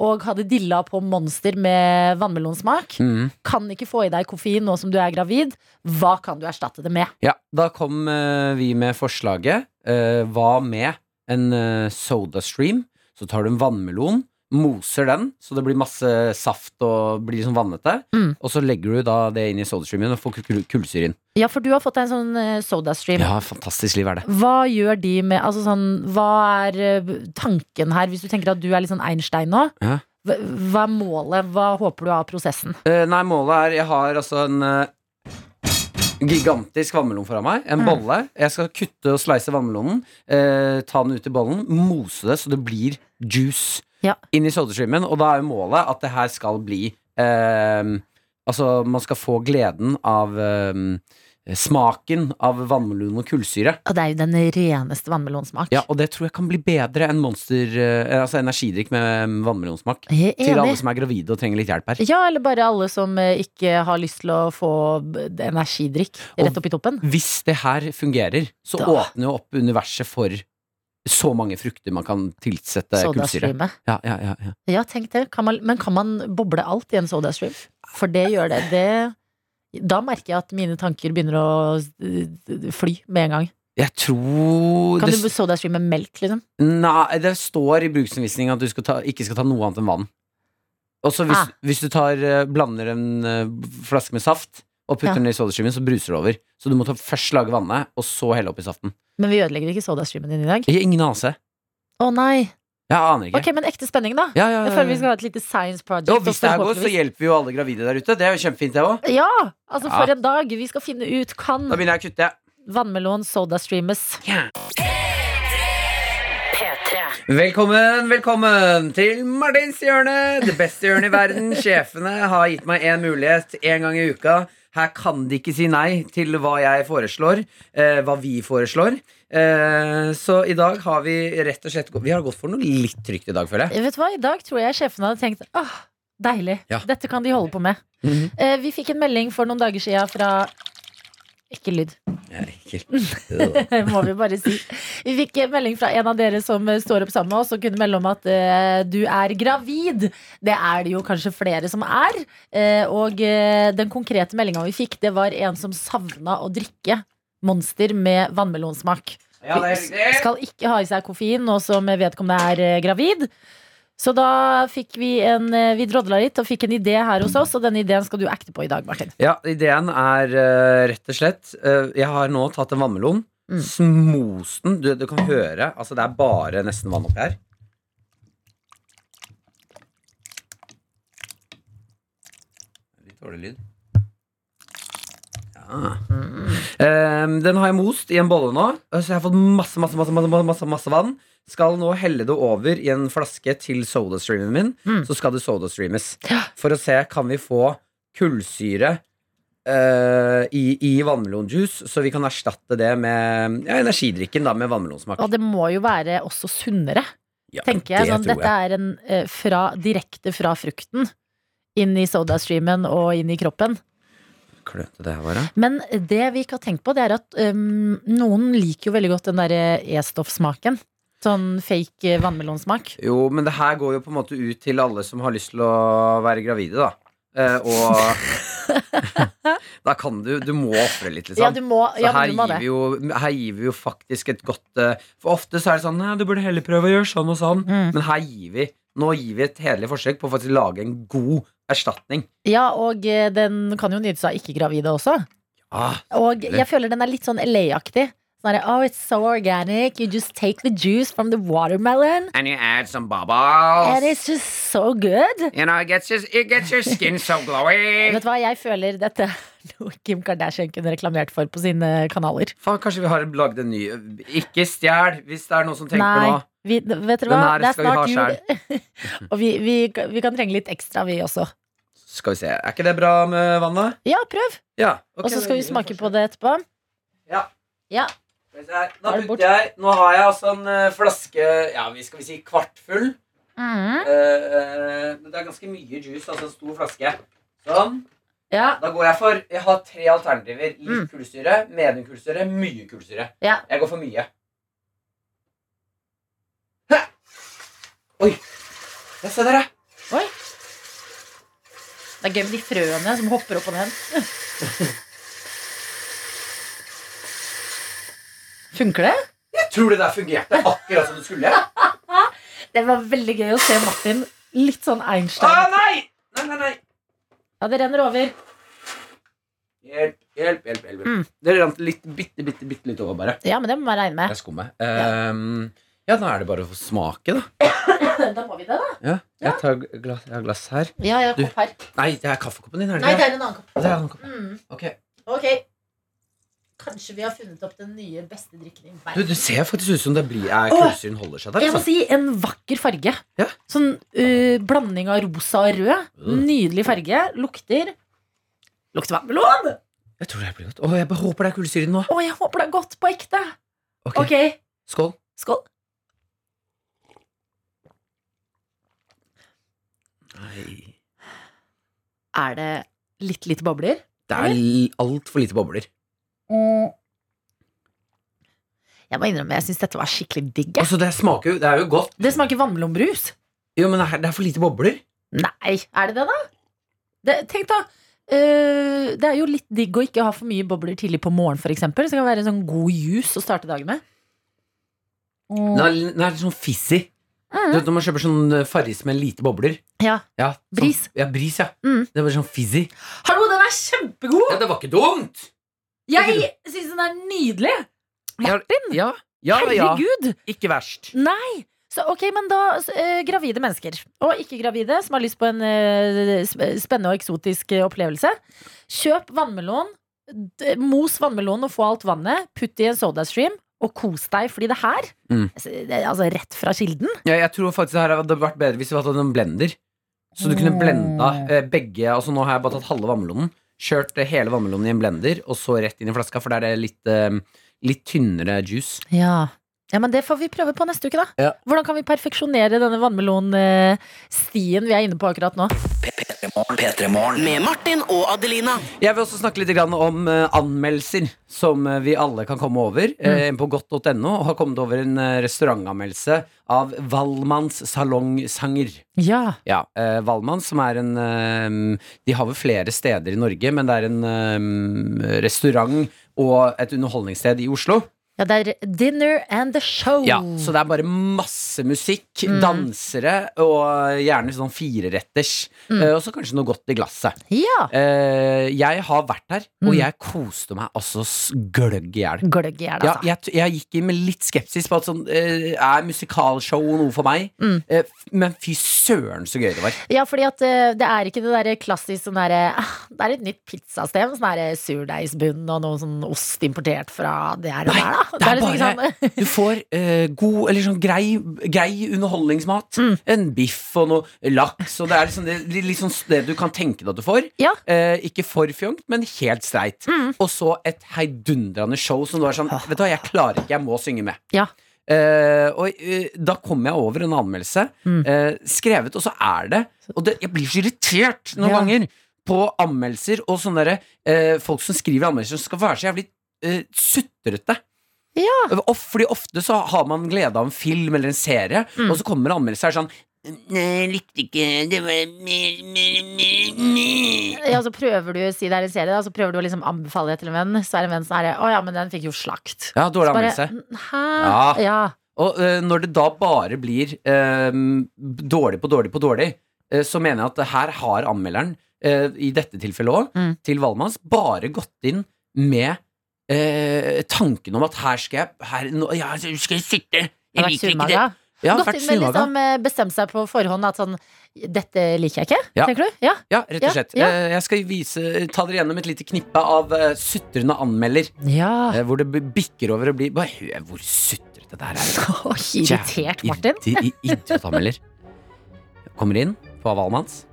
Og hadde dilla på Monster med vannmelonsmak kan ikke få i deg koffein nå som du er gravid, hva kan du erstatte det med? Ja, da kom eh, vi med forslaget. Eh, hva med en eh, sodastream? Så tar du en vannmelon, moser den, så det blir masse saft og blir sånn vannete. Mm. Og så legger du da det inn i sodastreamen og får kul- kullsyre inn. Ja, for du har fått deg en sånn eh, sodastream. Ja, fantastisk liv er det. Hva gjør de med Altså sånn, hva er eh, tanken her, hvis du tenker at du er litt sånn Einstein nå? Ja. Hva hva er målet? Hva håper du av prosessen? Eh, nei, målet er Jeg har altså en eh, gigantisk vannmelon foran meg. Mm. En bolle. Jeg skal kutte og slice vannmelonen. eh, ta den ut i bollen, mose det så det blir juice Ja. inn i sodastreamen. Og da er jo målet at det her skal bli eh, Altså, man skal få gleden av eh, smaken av vannmelon og kullsyre. Ja, det er jo den reneste vannmelonsmak. Ja, og det tror jeg kan bli bedre enn monster eh, Altså energidrikk med vannmelonsmak. Jeg er Til alle enig. som er gravide og trenger litt hjelp her. Ja, eller bare alle som eh, ikke har lyst til å få b- energidrikk Og- rett opp i toppen. Hvis det her fungerer, så Da- åpner jo opp universet for så mange frukter man kan tilsette kullsyre. Sodastreame. Ja, ja, ja, ja. Ja, tenk det. Kan man, men kan man boble alt i en sodastream? For det gjør det. det. Da merker jeg at mine tanker begynner å eh, fly med en gang. Jeg tror Kan det, du sodastreame melk, liksom? Nei, det står i bruksanvisningen at du skal ta, ikke skal ta noe annet enn vann. Og så hvis, Ah. hvis du tar, eh, blander en eh, flaske med saft og putter Ja. den i sodastreamen, så bruser det over. Så du må ta, først lage vannet, og så helle oppi saften. Men vi ødelegger ikke sodastreamen din i dag. Jeg har ingen anelse. Å nei. Jeg aner ikke. Ok, men ekte spenning, da. Ja, ja, ja, Jeg føler vi skal ha et lite science project. ja. Og hvis det her går, så forhåpentligvis- hjelper vi jo alle gravide der ute. Det er jo kjempefint, det òg. Ja! Altså, for Ja. en dag. Vi skal finne ut. Kan Da begynner jeg å kutte. jeg. vannmelon sodastreames? Velkommen, velkommen til Martins hjørne. Det beste hjørnet i verden. Sjefene har gitt meg én mulighet én gang i uka. Her kan de ikke si nei til hva jeg foreslår, eh, hva vi foreslår. Eh, så i dag har vi rett og slett gå- Vi har gått for noe litt trygt i dag, føler jeg. Vet du hva, I dag tror jeg sjefene hadde tenkt Åh, deilig, Ja. dette kan de holde på med Mhm. Eh, Vi fikk en melding for noen dager siden fra Ikke lyd, Ja, ekkelt. må vi bare si Vi fikk en melding fra en av dere som eh, står opp sammen med oss Og kunne melde om at eh, du er gravid Det er det jo kanskje flere som er Eh, Og eh, den konkrete meldingen vi fikk Det var en som savnet å drikke Monster med vannmelonsmak Ja, det er riktig. skal ikke ha i seg koffein nå som vedkommende er eh, gravid. Så da fikk vi en eh, Vi drodla litt og fikk en idé her hos oss, og denne ideen skal du acte på i dag, Martin. Ja, ideen er eh, rett og slett eh, Jeg har nå tatt en vannmelon. Mm. Smost den. Du, du kan høre. Altså, det er bare nesten vann oppi her. Litt dårlig lyd. Ja. Eh, den har jeg most i en bolle nå, så jeg har fått masse, masse, masse, masse, masse, masse vann. Skal nå helle det over i en flaske til sodastreamen min. Mm. Så skal det sodastreames. For å se kan vi få kullsyre eh, i, i vannmelonjuice, så vi kan erstatte det med ja, energidrikken da, med vannmelonsmak. Og det må jo være også sunnere, Ja, tenker jeg. det Sånn, tror dette er en eh, fra, direkte fra frukten. Inn i sodastreamen og inn i kroppen. Klønete det her var, da. Men det vi ikke har tenkt på, det er at um, noen liker jo veldig godt den derre E-stoffsmaken. Sånn fake eh, vannmelonsmak. Jo, men det her går jo på en måte ut til alle som har lyst til å være gravide, da. Eh, og Da kan du Du må ofre litt, liksom. Ja, du må, Så ja, men her, du må gir det. vi jo, her gir vi jo faktisk et godt eh, For ofte så er det sånn Nei, du burde heller prøve å gjøre sånn og sånn. Mm. Men her gir vi nå gir vi et hederlig forsøk på å faktisk lage en god erstatning. Ja, og eh, den kan jo nytes av ikke-gravide også. Ah, Og jeg føler den er litt sånn LA-aktig. Sånn der, oh, it's so organic. You just take the juice from the watermelon. and you add some And bubbles. it's just so good. You know, it gets your, it gets your skin so glowy. Vet du hva, jeg føler dette er noe Kim Kardashian kunne reklamert for på sine kanaler. Faen, kanskje vi har lagd en ny Ikke stjel, hvis det er noen som tenker Nei. på Vi, vet dere Den hva, her det er skal vi ha snart jul. og vi, vi, vi kan trenge litt ekstra, vi også. noe. Skal vi se. Er ikke det bra med vannet? Ja, prøv. Ja. ok, Og så da skal gir vi smake en på det etterpå. Ja. Ja. Skal vi se her. Da Nå, er det bort. putter jeg, nå har jeg altså en eh, flaske Ja, vi skal vi si kvartfull. Mm. Eh, eh, men det er ganske mye juice, altså en stor flaske. Sånn. ja. Da går jeg for Jeg har tre alternativer. Litt Mm. kullsyre, medium kullsyre, mye kullsyre. Ja. Jeg går for mye. Hæ! Oi. Ja, se der, ja. Oi. Det er gøy med de frøene som hopper opp og ned. Funker det? Jeg tror det der fungerte akkurat som det skulle. Å Det var veldig gøy å se Martin litt sånn Einstein. Ah, nei! Nei, nei, nei. Ja, det renner over. Hjelp, hjelp, hjelp. hjelp. Mm. Det rant litt, bitte, bitte, bitte litt over, bare. Ja, men det må man regne med. Jeg skummer. Ehm, ja, da er det bare å få smake, da. Da må vi det, da. Ja, jeg, tar glass, jeg har glass her. Ja, jeg har Du- kopp her. Nei, det er kaffekoppen din, er Nei, det det ikke? er en annen kopp. Det er han- Mm. Ok. Ok. Kanskje vi har funnet opp den nye beste drikken i Du, verden. du ser faktisk ut som det blir er Åh! kullsyren holder seg der. Jeg må Altså. si en vakker farge. Ja. Sånn eh, blanding av rosa og rød. Mm. Nydelig farge. Lukter Lukter vannmelon! Jeg tror det blir godt. Å, jeg bare håper det er kullsyre nå. Å, jeg håper det er godt på ekte. Ok, Ok, Skål. skål. Nei. Er det litt lite bobler? Mm. Det er altfor lite bobler. Jeg må innrømme, jeg syns dette var skikkelig digg. jeg. Altså, det smaker jo Det er jo godt. Det smaker vannmelombrus. Jo, men det er, det er for lite bobler. Nei, er det det, da? Det, tenk, da. eh, det er jo litt digg å ikke ha for mye bobler tidlig på morgenen, f.eks. Så det kan være en sånn god juice å starte dagen med. Den er, den er litt sånn fissig. Du Mm. vet når man kjøper sånn eh, Farris med lite bobler? Ja. Ja, sånn, Bris. Ja, bris, ja. Mm. Det er bare sånn fizzy. Hallo, den er kjempegod! Ja, det var ikke dumt! Jeg syns den er nydelig! Martin! Ja, ja, ja. Herregud! Ikke verst. Nei! Så ok, men da s- eh, Gravide mennesker, og ikke-gravide, som har lyst på en eh, sp- spennende og eksotisk eh, opplevelse. Kjøp vannmelon. d- Mos vannmelonen og få alt vannet. Putt i en sodastream. Og kos deg, fordi det her Mm. altså, det er altså rett fra kilden. Ja, jeg tror faktisk det her hadde vært bedre hvis vi hadde hatt en blender. Så du kunne Mm. blenda eh, begge Altså Nå har jeg bare tatt halve vannmelonen. Kjørt eh, hele vannmelonen i en blender, og så rett inn i flaska, for der er det litt, eh, litt tynnere juice. Ja. ja, men det får vi prøve på neste uke, da. Ja. Hvordan kan vi perfeksjonere denne vannmelonstien vi er inne på akkurat nå? P3morgen. Med Martin og Adelina. Jeg vil også snakke litt grann om eh, anmeldelser som eh, vi alle kan komme over. eh, På godt.no og har kommet over en eh, restaurantanmeldelse av Valmanns salongsanger. Ja. Ja, eh, Valmann, som er en eh, De har vel flere steder i Norge, men det er en eh, restaurant og et underholdningssted i Oslo. ja, det er Dinner and the Show. Ja, Så det er bare masse musikk, Mm. dansere og gjerne sånn fireretters. Mm. eh, og så kanskje noe godt i glasset. ja. Eh, jeg har vært der, og Mm. jeg koste meg altså s- gløgg i hjel. Gløgg i hjel, Ja, altså. jeg, t- jeg gikk inn med litt skepsis på at sånn eh, Er musikalshow noe for meg? Mm. Eh, f- men fy søren så gøy det var. Ja, fordi at eh, det er ikke det derre klassisk sånn derre ah, Det er et nytt pizzasted med sånn derre surdeigsbunn og noe sånn ost importert fra det her og Nei, der, da. det er liksom ikke bare- sånn- Du får eh, god, eller sånn grei, grei underholdningsmat. Mm. En biff og noe laks, og det er liksom det, det er liksom det du kan tenke deg at du får. Ja. Eh, ikke for fjongt, men helt streit. Mm. Og så et heidundrende show som du er sånn Vet du hva, jeg klarer ikke, jeg må synge med. Ja. Eh, og eh, da kom jeg over en anmeldelse Mm. eh, skrevet, og så er det Og det, jeg blir så irritert noen Ja. ganger på anmeldelser og sånne derre eh, folk som skriver anmeldelser som skal være så jævlig eh, sutrete. Of, fordi ofte så har man glede av en film eller en serie, Mm. og så kommer anmeldelser sånn Nei, jeg likte ikke Det var mer, mer, mer, mer. Ja, så prøver du å si det er en serie, da, så prøver du å liksom anbefale det til en venn, så er det en venn som er Å ja, men den fikk jo slakt. Ja, dårlig Så bare, anmeldelse. Hæ? Ja. Ja. Og eh, når det da bare blir eh, dårlig på dårlig på dårlig, eh, så mener jeg at her har anmelderen, eh, i dette tilfellet òg, Mm. til Valmanns, bare gått inn med eh, tanken om at her skal jeg her, nå, ja, så skal jeg sitte Jeg har vært Jeg liker ikke det. surmaga. Ja, Gått vært inn med surmaga. liksom eh, bestemt seg på forhånd at sånn Dette liker jeg ikke, Ja. tenker du? Ja. Ja, rett Ja, og slett. ja. Eh, Jeg skal vise, ta dere gjennom et lite knippe av eh, sutrende anmelder. ja. eh, Hvor det b- bikker over og blir Bare hør hvor sutrete det her er. Så irritert, Martin. Jævlig irri- Idiotanmelder. Kommer inn på avalen hans.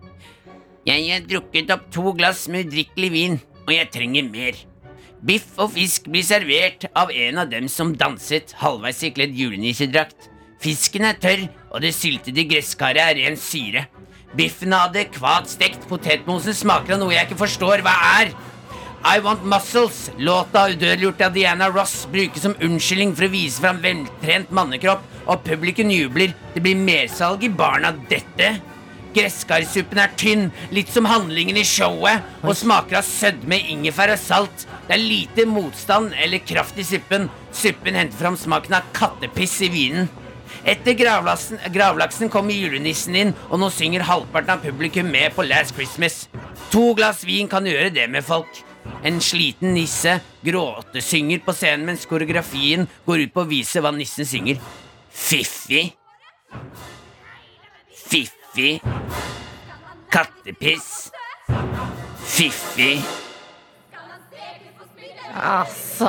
Jeg har drukket opp to glass med udrikkelig vin, og jeg trenger mer. Biff og fisk blir servert av en av dem som danset halvveis i kledd julenissedrakt. Fisken er tørr, og det syltede gresskaret er ren syre. Biffen av adekvat stekt potetmosen smaker av noe jeg ikke forstår hva er. I Want Muscles, låta udødeliggjort av Diana Ross, brukes som unnskyldning for å vise fram veltrent mannekropp, og publikum jubler. Det blir mersalg i baren av dette. Gresskarsuppen er tynn, litt som handlingen i showet, og smaker av sødme, ingefær og salt. Det er lite motstand eller kraft i suppen. Suppen henter fram smaken av kattepiss i vinen. Etter gravlaksen, gravlaksen kommer julenissen inn, og nå synger halvparten av publikum med på Last Christmas. To glass vin kan gjøre det med folk. En sliten nisse gråtesynger på scenen mens koreografien går ut på å vise hva nissen synger. Fiffi. Fiffi. Kattepiss. Fiffi. Altså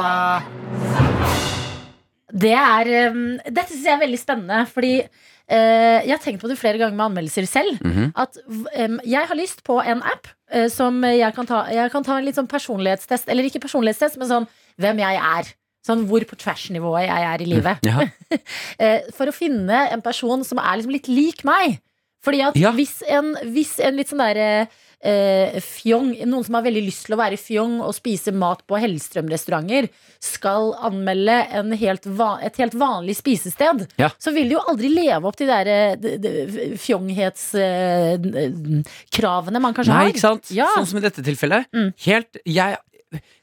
Det er um, Dette syns jeg er veldig spennende, fordi eh, jeg har tenkt på det flere ganger med anmeldelser selv. At um, jeg har lyst på en app eh, som jeg kan ta Jeg kan ta en litt sånn personlighetstest, eller ikke personlighetstest, men sånn hvem jeg er. Sånn hvor på trash-nivået jeg er i livet. Eh, for å finne en person som er liksom litt lik meg. Fordi at Ja. hvis, en, hvis en litt sånn der eh, eh, fjong Noen som har veldig lyst til å være fjong og spise mat på Hellstrøm-restauranter, skal anmelde en helt va et helt vanlig spisested, Ja. så vil de jo aldri leve opp til de eh, derre fjonghetskravene man kanskje Nei, har. ikke sant? Ja. Mm. Sånn som i dette tilfellet. Helt, jeg,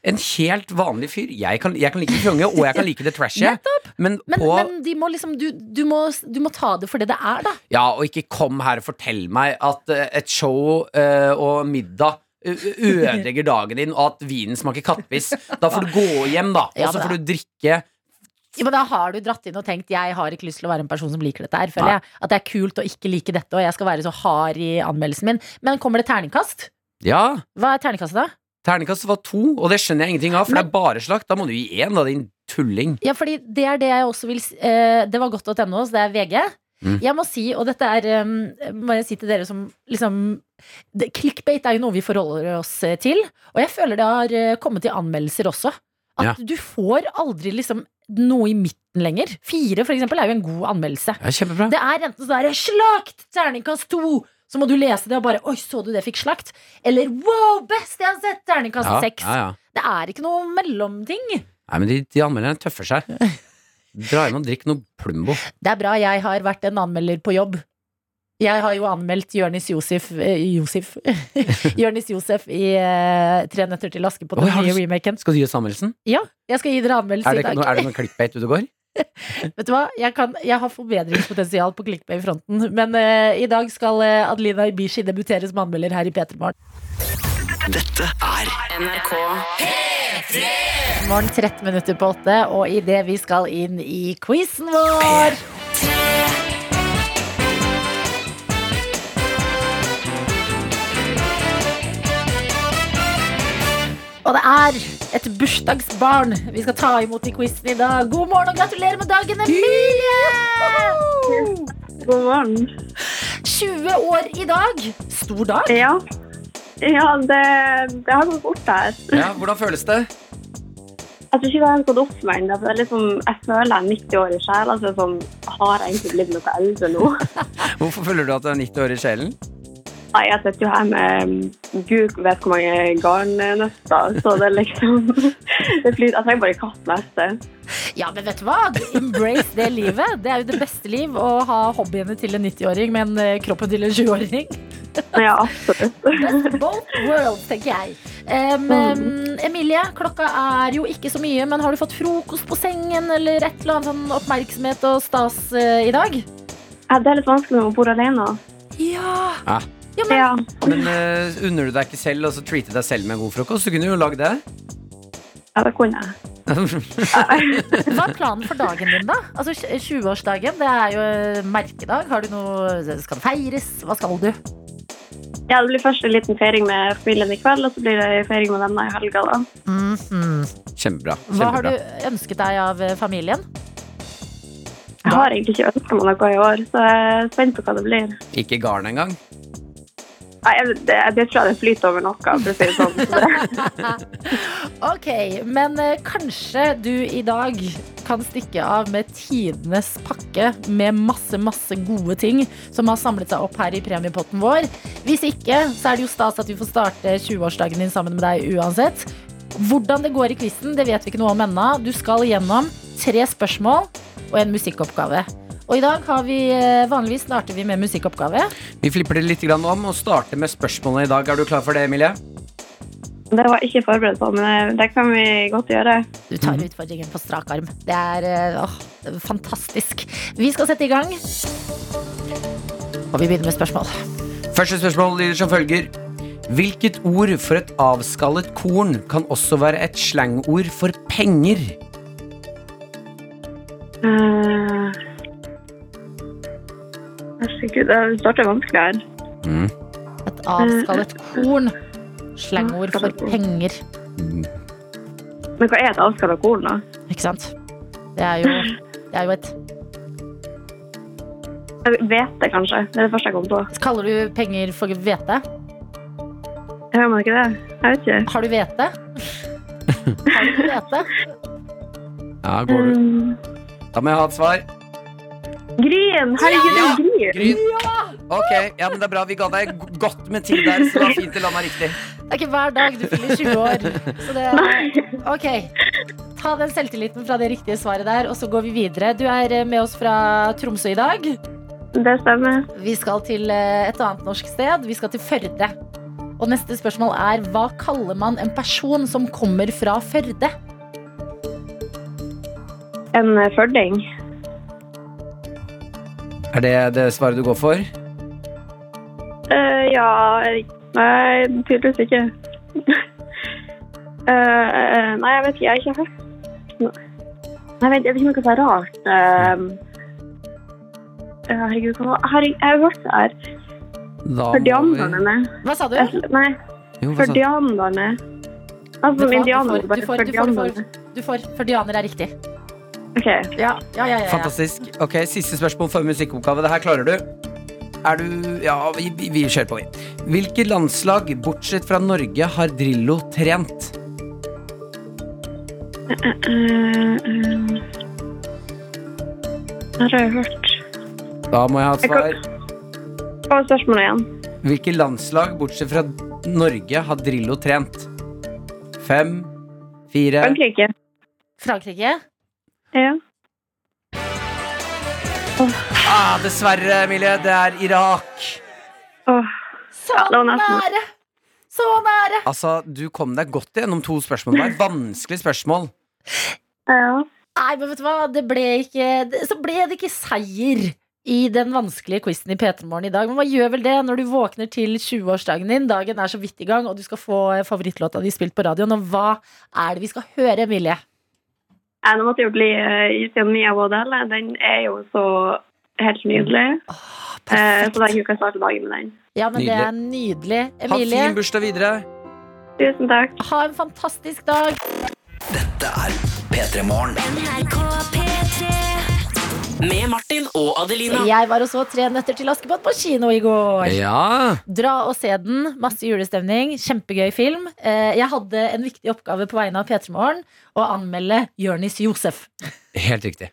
en helt vanlig fyr. Jeg kan, jeg kan like fjonge, og jeg kan like det trashy. Men, Men, på, men de må liksom du, du, må, du må ta det for det det er, da. Ja, og ikke kom her og fortell meg at eh, et show eh, og middag ø- ø- ødelegger dagen din, og at vinen smaker kattpiss. Da får du gå hjem, da. Ja, Og så men får du drikke. Ja, men da har du dratt inn og tenkt Jeg har ikke lyst til å være en person som liker dette her Føler jeg at det er kult å ikke like dette Og jeg skal være så hard i anmeldelsen min Men kommer det terningkast? Ja. Hva er terningkastet da? Terningkastet var to, og det skjønner jeg ingenting av, for det er bare slakt. Da må du gi én, da, din tulling. Ja, fordi det er det jeg også vil s- eh, Det var godt.no, så det er VG Mm. Jeg må si, og dette er um, Bare si til dere som liksom det, Clickbait er jo noe vi forholder oss eh, til Og jeg føler det har eh, kommet til anmeldelser også At Ja. du får aldri liksom Noe i midten lenger Fire for eksempel er jo en god anmeldelse Ja, kjempebra. Det er enten sånn der, slakt, terningkast to Så må du lese det og bare Oi, så du det fikk slakt? Eller wow, best jeg har sett, terningkast ja, seks. ja, ja. Det er ikke noe mellomting. Nei, men de, de anmelderne tøffer seg. Dra hjem og drikk noe Plumbo. Det er bra jeg har vært en anmelder på jobb. Jeg har jo anmeldt Jonis Josef eh, Josef Jonis Josef i eh, Tre nøtter til Askepott, Oi, den har du nye s- remaken. Skal du gi oss anmeldelsen? Jeg skal gi dere Er anmeldelse det, i dag. nå- er det noen klikkbeit ute og går? Vet du hva? Jeg, kan, jeg har forbedringspotensial på clickbay-fronten. Men eh, i dag skal eh, Adelina Ibishi debutere som anmelder her i P3 Morgen. NRK Morgen 13 minutter på 8, og i det vi skal inn i quizen vår. Og det er et bursdagsbarn vi skal ta imot i quizen i dag. God morgen og gratulerer med dagen, Emilie! God morgen. 20 år i dag. Stor dag. Ja, ja det, det har gått fort her. Ja, hvordan føles det? Jeg tror ikke det har gått opp for meg ennå. for det er Liksom, jeg føler jeg er 90 år i sjela, så sånn, har jeg egentlig blitt noe eldre nå. Hvorfor føler du at du er 90 år i sjelen? Nei, jeg sitter jo her med mm, gud vet hvor mange garnnøster, så det er liksom det flyter. Jeg trenger bare kattneste. Ja, men vet du hva? Embrace det livet. Det er jo det beste liv å ha hobbyene til en 90-åring, men eh, kroppen til en 20-åring. Ja, absolutt. Best of both worlds, tenker jeg. Em, em, Emilie, klokka er jo ikke så mye, men har du fått frokost på sengen eller et eller annet sånn oppmerksomhet og stas eh, i dag? Ja, Det er litt vanskelig når man bor alene. Ja. Ja. ja men, Ja, Men eh, unner du deg ikke selv og så treate deg selv med en god frokost, så kunne du jo lagd det. ja det kunne jeg. Hva er planen for dagen din, da? Altså tj- 20-årsdagen, det er jo eh, merkedag. Har du noe Skal det feires? Hva skal du? Ja, Det blir først en liten feiring med familien i kveld, og så blir det feiring med venner i helga. da. Mhm. Kjempebra. Hva har kjempebra. du ønsket deg av eh, familien? Jeg har egentlig ikke ønska meg noe i år, så jeg er spent på hva det blir. Ikke garn engang. Nei, jeg, det, det tror jeg det flyter over noe, for å si det sånn. Så det- Ok, men eh, kanskje du i dag kan stikke av med tidenes pakke med masse, masse gode ting som har samlet seg opp her i premiepotten vår. Hvis ikke, så er det jo stas at vi får starte 20-årsdagen din sammen med deg uansett. Hvordan det går i quizen, det vet vi ikke noe om ennå. Du skal gjennom tre spørsmål og en musikkoppgave. Og i dag har vi eh, vanligvis starter vi med musikkoppgave. Vi flipper det litt grann om og starter med spørsmålene i dag. Er du klar for det, Emilie? Det var jeg ikke forberedt på, men det kan vi godt gjøre. Du tar utfordringen på strak arm. Det er eh, åh, det er fantastisk. Vi skal sette i gang. Og vi begynner med spørsmål. Første spørsmål lyder som følger. Hvilket ord for et avskallet korn kan også være et slangord for penger? Eh, Herregud, det starter vanskelig her. Et avskallet korn. Slangord for penger. Men hva er et avskalla korn, da? Ikke sant? Det er jo, det er jo et Jeg vet det kanskje. Det er det første jeg kom på. Kaller du penger for hvete? Hører man ikke det? Jeg vet ikke. Har du hvete? Har du hvete? Ja, går du. Um, Da må jeg ha et svar. grin! Herregud, det er jo grin! Gryn. Ok, ja, men det er bra. Vi ga deg g- godt med tid der, så det var fint å lande riktig. Det er ikke hver dag du fyller 20 år. Så det Ok. Ta den selvtilliten fra det riktige svaret der, og så går vi videre. Du er eh, med oss fra Tromsø i dag. Det stemmer. Vi skal til eh, et annet norsk sted. Vi skal til Førde. Og neste spørsmål er hva kaller man en person som kommer fra Førde? En eh, førding. Er det det svaret du går for? Eh, ja Nei, tydeligvis ikke. Eh, eh, nei, jeg vet ikke. Jeg har ikke hørt Nei, vent, jeg vet ikke noe så rart. ehm. Eh, eh, herregud, hva var Herregud, jeg har hørt det her. Da må vi- Førdianerne. Hva sa du? Jeg- Nei, Jo, hva sa- førdianerne. Altså Du som får- indianere, du får- bare du får- du får- du får- førdianerne. Du får Førdianer er riktig. OK. Ja, ja, ja. ja, ja. Fantastisk. Ok, Siste spørsmål for musikkoppgave. Det her klarer du. Er du Ja, vi, vi, vi kjører på, vi. Hvilke landslag, bortsett fra Norge, har Drillo trent? Eh, eh, her har jeg hørt Da må jeg ha et Jeg kan- svar. Hva var spørsmålet igjen? Hvilke landslag, bortsett fra Norge, har Drillo trent? Fem, fire Frankrike? Frankrike? Ja. ah, Dessverre, Emilie, det er Irak. Åh, Så det var nesten. nære! Så nære! Altså, Du kom deg godt gjennom to spørsmål der. Vanskelige spørsmål. ja. Nei, men vet du hva? Det ble ikke, det- så ble det ikke seier i den vanskelige quizen i P3morgen i dag. Men man gjør vel det når du våkner til 20-årsdagen din, dagen er så vidt i gang, og du skal få eh, favorittlåta di spilt på radioen. Og hva er det vi skal høre, Emilie? Nei, Nå måtte jeg jo bli eh, i siden Mia Waddell. Den er jo så helt nydelig. Eh, så den kan jeg starte dagen med den. Ja, men det er nydelig. Ha en fin Emilie, bursdag videre. Tusen takk. ha en fantastisk dag. Dette er P3 Morgen. NRK P3 Med Martin og Adelina Jeg var og så Tre nøtter til Askepott på kino i går. Ja. Dra og se den. Masse julestemning. Kjempegøy film. Eh, Jeg hadde en viktig oppgave på vegne av P3morgen å anmelde Jørnis Josef. Helt riktig.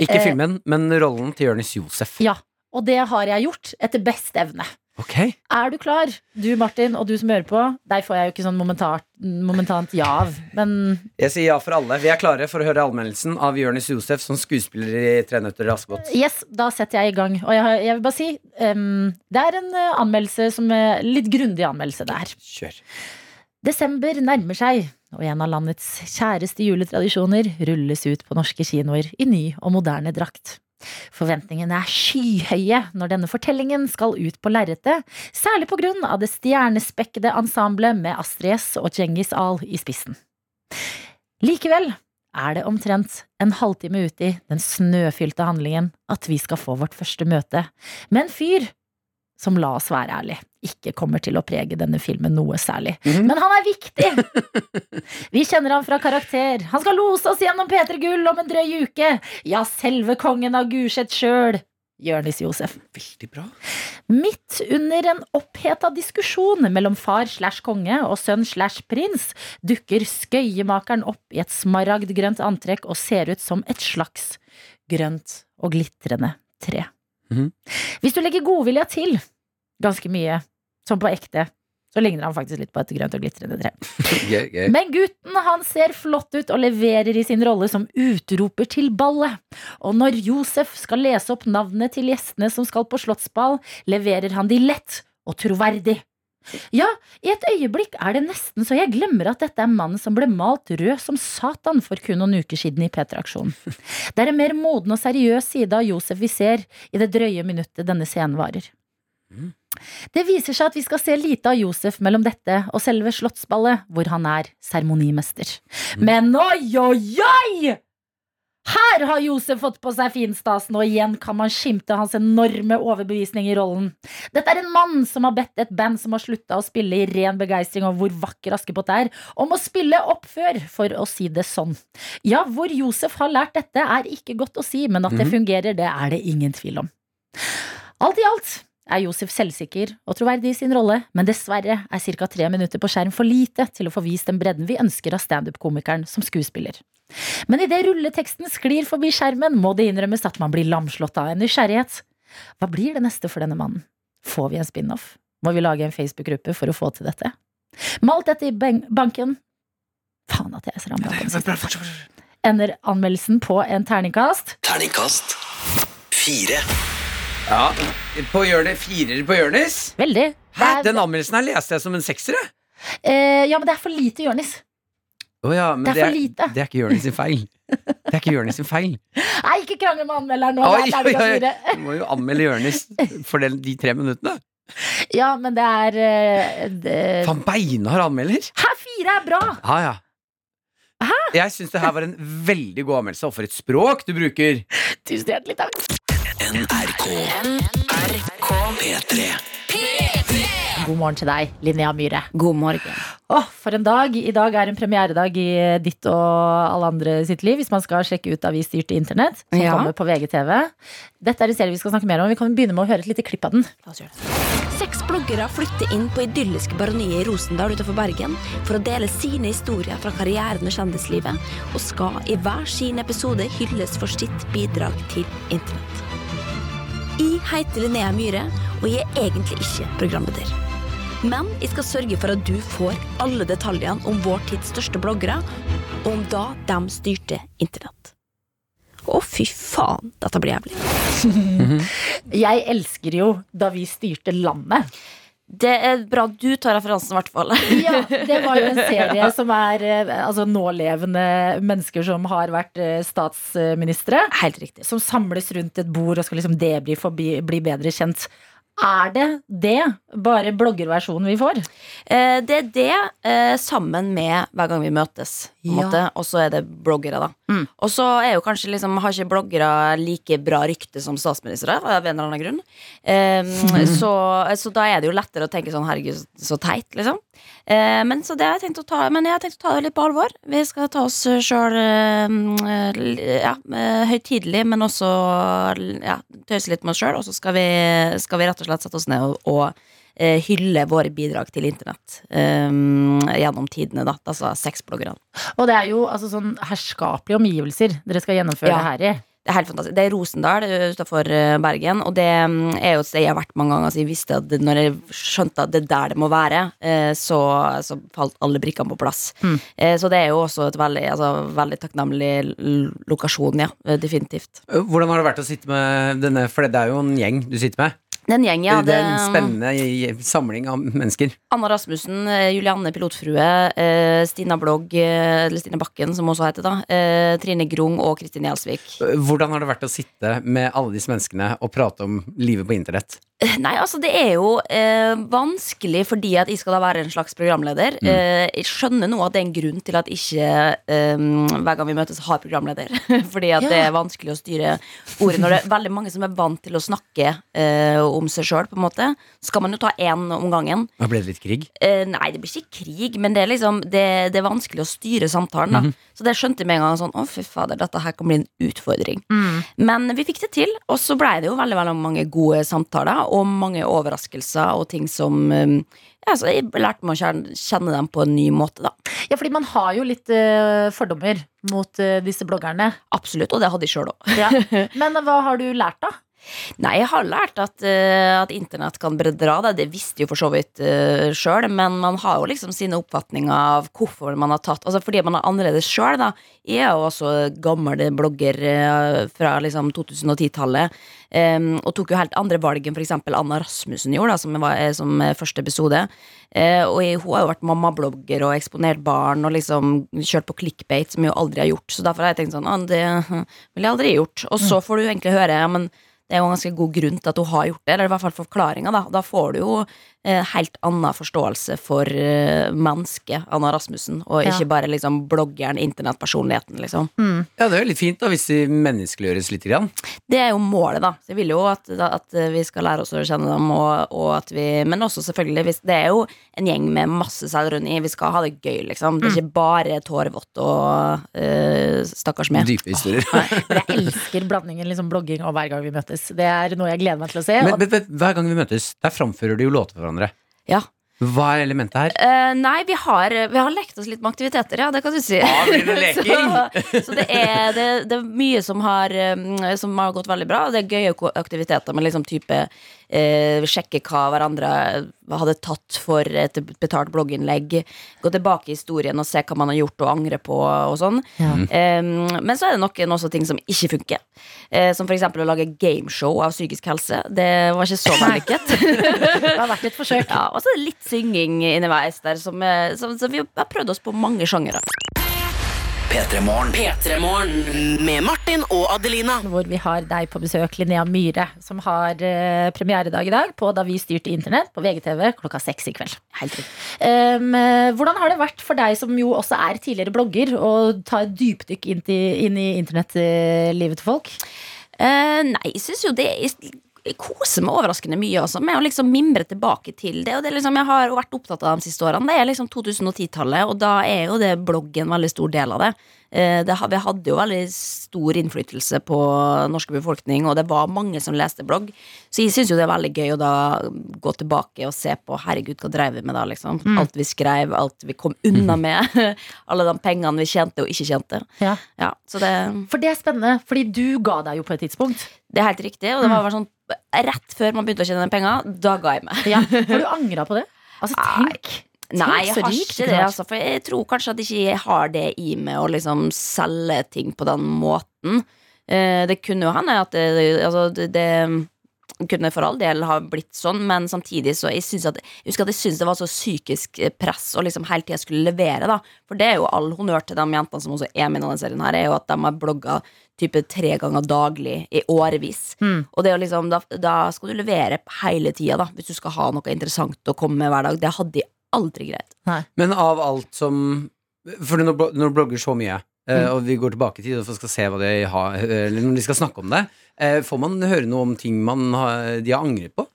Ikke filmen, men rollen til Jonis Josef. Eh. Ja, og det har jeg gjort etter best evne. Ok Er du klar? Du Martin, og du som hører på. Deg får jeg jo ikke sånn momentant, momentant ja av. Men Jeg sier ja for alle. Vi er klare for å høre anmeldelsen av Jonis Josef som skuespiller i Tre nøtter til Askepott. yes, da setter jeg i gang. Og jeg, har, jeg vil bare si, em, det er en eh, anmeldelse som er litt grundig anmeldelse der. Kjør. Desember nærmer seg, og en av landets kjæreste juletradisjoner rulles ut på norske kinoer i ny og moderne drakt. Forventningene er skyhøye når denne fortellingen skal ut på lerretet, særlig på grunn av det stjernespekkede ensemblet med Astrid S og Djengis Ahl i spissen. Likevel er det omtrent en halvtime ut i den snøfylte handlingen at vi skal få vårt første møte med en fyr som, la oss være ærlig, ikke kommer til å prege denne filmen noe særlig. Mhm. Men han er viktig! Vi kjenner han fra karakter. Han skal lose oss gjennom P3 Gull om en drøy uke. Ja, selve kongen av Gulset sjøl. Jørnis Josef. Veldig bra. Midt under en oppheta diskusjon mellom far slash konge og sønn slash prins dukker skøyemakeren opp i et smaragdgrønt antrekk og ser ut som et slags grønt og glitrende tre. Mhm. Hvis du legger godvilja til ganske mye, som på ekte, så ligner han faktisk litt på et grønt og glitrende tre. Gøy, gøy. Men gutten han ser flott ut og leverer i sin rolle som utroper til ballet. Og når Josef skal lese opp navnet til gjestene som skal på slottsball, leverer han de lett og troverdig. Ja, i et øyeblikk er det nesten så jeg glemmer at dette er mannen som ble malt rød som Satan for kun noen uker siden i P3-aksjonen. Det er en mer moden og seriøs side av Josef vi ser i det drøye minuttet denne scenen varer. Det viser seg at vi skal se lite av Josef mellom dette og selve slottsballet, hvor han er seremonimester. Men oi, oi, oi! Her har Josef fått på seg finstasen, og igjen kan man skimte hans enorme overbevisning i rollen. Dette er en mann som har bedt et band som har slutta å spille i ren begeistring over hvor vakker Askepott er, om å spille opp før, for å si det sånn. Ja, hvor Josef har lært dette, er ikke godt å si, men at det fungerer, det er det ingen tvil om. Alt i alt er Josef selvsikker og troverdig i sin rolle, men dessverre er ca. tre minutter på skjerm for lite til å få vist den bredden vi ønsker av standup-komikeren som skuespiller. Men idet rulleteksten sklir forbi skjermen, må det innrømmes at man blir lamslått av en nysgjerrighet. Hva blir det neste for denne mannen? Får vi en spin-off? Må vi lage en Facebook-gruppe for å få til dette? Malt dette i ben- banken. Faen at jeg er så ramla på den siste. Ender anmeldelsen på en terningkast. Terningkast fire. Ja, på hjørnet, Firer på Jonis. Veldig. Hæ? Det er- Den anmeldelsen her leste jeg som en sekser, jeg. eh, ja, men det er for lite Jonis. Å ja, men Det er for lite. Det er ikke Jonis sin feil. Det er ikke Jonis sin feil. Nei, ikke krangle med anmelderen nå. Oi, det er terningkast oi, oi. fire. Du må jo anmelde Jonis for den- de tre minuttene. Ja, men det er eh, det- Faen, beinhard anmelder! Hæ, fire er bra! Ja, ja. Jeg syns det her var en veldig god anmeldelse, og for et språk du bruker! Tusen hjertelig takk. NRK. P3. God morgen til deg, Linnea Myhre. God morgen. Åh, for en dag. I dag er en premieredag i ditt og alle andre sitt liv, hvis man skal sjekke ut avisstyrt internett, som Ja. kommer på VGTV. Dette er en serie vi skal snakke mer om. Vi kan begynne med å høre et lite klipp av den. Seks bloggere flytter inn på idylliske baroniet i Rosendal utenfor Bergen for å dele sine historier fra karrieren og kjendislivet, og skal i hver sin episode hylles for sitt bidrag til internett. Jeg heter Linnea Myhre, og jeg er egentlig ikke programleder. Men jeg skal sørge for at du får alle detaljene om vår tids største bloggere, og om da de styrte internett. Å, fy faen, dette blir jævlig. Jeg elsker jo da vi styrte landet. Det er bra du tar referansen, i hvert fall. Ja, Det var jo en serie som er eh, altså, nålevende mennesker som har vært eh, statsministre. Helt riktig. som samles rundt et bord og skal liksom debrife og bli, bli bedre kjent. Er det det? Bare bloggerversjonen vi får? Eh, det er det eh, sammen med hver gang vi møtes, på en Ja. måte. Og så er det bloggere, da. Mm. Og så er jo kanskje liksom, har ikke bloggere like bra rykte som statsministre, av en eller annen grunn. Eh, så, så da er det jo lettere å tenke sånn herregud, så- så teit, liksom. Eh, men, så det har jeg tenkt å ta, men jeg har tenkt å ta det litt på alvor. Vi skal ta oss sjøl eh, l- ja, eh, høytidelig, men også ja, tøyse litt med oss sjøl. Og så skal vi, skal vi rett og slett sette oss ned og, og eh, hylle våre bidrag til internett eh, gjennom tidene, da. Altså sexbloggerne. Og det er jo altså, sånn herskapelige omgivelser dere skal gjennomføre Ja. det her i. Det er helt fantastisk. Det er Rosendal utafor Bergen, og det mm, er jo et sted jeg har vært mange ganger. Så jeg visste at det, når jeg skjønte at det er der det må være, eh, så, så falt alle brikkene på plass. Mm. Eh, Så det er jo også et veldig, altså, veldig takknemlig l- lokasjon, ja. eh, Definitivt. Hvordan har det vært å sitte med denne, for det er jo en gjeng du sitter med. Den gjengen, ja. um, det er en spennende i- samling av mennesker. Anna Rasmussen, eh, Julianne Pilotfrue, eh, Stina Blogg, eh, eller Stina Bakken, som hun også heter, da. eh, Trine Grung og Kristin Gjelsvik. Eh, Hvordan har det vært å sitte med alle disse menneskene og prate om livet på internett? Nei, altså det er jo eh, vanskelig fordi at jeg skal da være en slags programleder. Eh, jeg skjønner nå at det er en grunn til at ikke eh, hver gang vi møtes har programleder. fordi at det er vanskelig å styre ordet når det er veldig mange som er vant til å snakke eh, om seg sjøl, på en måte. Så skal man jo ta én om gangen. Da ble det litt krig. Eh, nei, det blir ikke krig, men det er liksom Det, det er vanskelig å styre samtalen. da Så det skjønte jeg med en gang. Sånn, å fy fader, dette her kan bli en utfordring. Men vi fikk det til, og så blei det jo veldig veldig mange gode samtaler. Og mange overraskelser og ting som eh, ja, så Jeg lærte meg å kjerne- kjenne dem på en ny måte, da. Ja, fordi man har jo litt eh, fordommer mot eh, disse bloggerne. Absolutt. Og det hadde jeg sjøl òg. Men hva har du lært, da? Nei, jeg har lært at, eh, at internett kan bedra deg. Det visste jeg jo for så vidt uh, sjøl, men man har jo liksom sine oppfatninger av hvorfor man har tatt Altså fordi man er annerledes sjøl, da. Jeg er jo også gammel blogger eh, fra liksom 2010-tallet. em, eh, og tok jo helt andre valg enn f.eks. Anna Rasmussen gjorde, da, som, var, eh, som eh, første episode. Eh, og jeg, hun har jo vært mammablogger og eksponert barn og liksom kjørt på clickbait, som jeg jo aldri har gjort. Så derfor har jeg tenkt sånn, «Å, det ville jeg aldri gjort. Og så får du egentlig høre, ja, men det er jo en ganske god grunn til at hun har gjort det, eller i hvert fall forklaringa. Da. da får du jo eh, helt annen forståelse for eh, mennesket Anna Rasmussen, og Ja. ikke bare liksom bloggeren, internettpersonligheten, liksom. Ja, det er jo litt fint da, hvis de menneskeliggjøres litt. Grann. Det er jo målet, da. Så jeg vil jo at, at vi skal lære oss å kjenne dem, og, og at vi Men også selvfølgelig, hvis det er jo en gjeng med masse selvironi. Vi skal ha det gøy, liksom. Det er ikke bare tårevått og eh, stakkars meg. Dype historier. Men jeg elsker blandingen liksom blogging og hver gang vi møtes. Det er noe jeg gleder meg til å se. Men, og- men, men hver gang vi møtes, der framfører de jo låter for hverandre. Ja. Hva er elementet her? Eh, nei, vi har, vi har lekt oss litt med aktiviteter, ja, det kan du si. så så det, er, det, det er mye som har, eh, som har gått veldig bra. Det er gøye ko- aktiviteter med liksom type eh, sjekke hva hverandre hadde tatt for et betalt blogginnlegg. Gå tilbake i historien og se hva man har gjort og angre på og sånn. Ja. Eh, men så er det noen også ting som ikke funker. Eh, som f.eks. å lage gameshow av psykisk helse. Det var ikke så vellykket. Det har vært et forsøk. Ja, og så er det litt synging underveis der, som, eh, som, som vi har prøvd oss på mange sjangere. P3morgen. P3morgen med Martin og Adelina. Hvor vi har deg på besøk, Linnea Myhre, som har eh, premieredag i dag på Da vi styrte internett på VGTV klokka seks i kveld. Helt riktig. Em, eh, hvordan har det vært for deg, som jo også er tidligere blogger, å ta et dypdykk inn, til- inn i internettlivet til folk? Eh, nei, jeg syns jo det jeg koser meg overraskende mye altså, med å liksom mimre tilbake til det. Og det er liksom, jeg har jo vært opptatt av de siste årene. Det er liksom 2010-tallet, og da er jo det bloggen en veldig stor del av det. Eh, det. har- Vi hadde jo veldig stor innflytelse på norske befolkning, og det var mange som leste blogg. Så jeg syns jo det er veldig gøy å da gå tilbake og se på herregud, hva dreiv vi med da, liksom. Alt vi skrev, alt vi kom unna med. Alle de pengene vi tjente og ikke tjente. Ja. Ja, så det For det er spennende, fordi du ga deg jo på et tidspunkt. det er helt riktig. Og det Mm. var bare sånn rett før man begynte å tjene penger, da ga jeg meg. Ja. Har du angra på det? Altså, tenk. Nei, Tenk jeg så har rikt ikke du det, har vært. altså, for jeg tror kanskje at ikke jeg har det i meg å liksom selge ting på den måten. Eh, Det kunne jo hende at det, altså, det, det kunne for all del ha blitt sånn, men samtidig så jeg synes at, jeg husker at jeg syntes det var så psykisk press å liksom hele tida skulle levere, da. For det er jo all honnør til de jentene som også er med i denne serien her, er jo at de har blogga type tre ganger daglig i årevis. Mm. Og det er jo liksom, da, da skal du levere hele tida, da, hvis du skal ha noe interessant å komme med hver dag. Det hadde jeg aldri greid. Men av alt som For når, blo- når blogger så mye eh, Mm. Og vi går tilbake i tid og skal se hva de har Eller når de skal snakke om det eh, Får man høre noe om ting man har, de har angret på?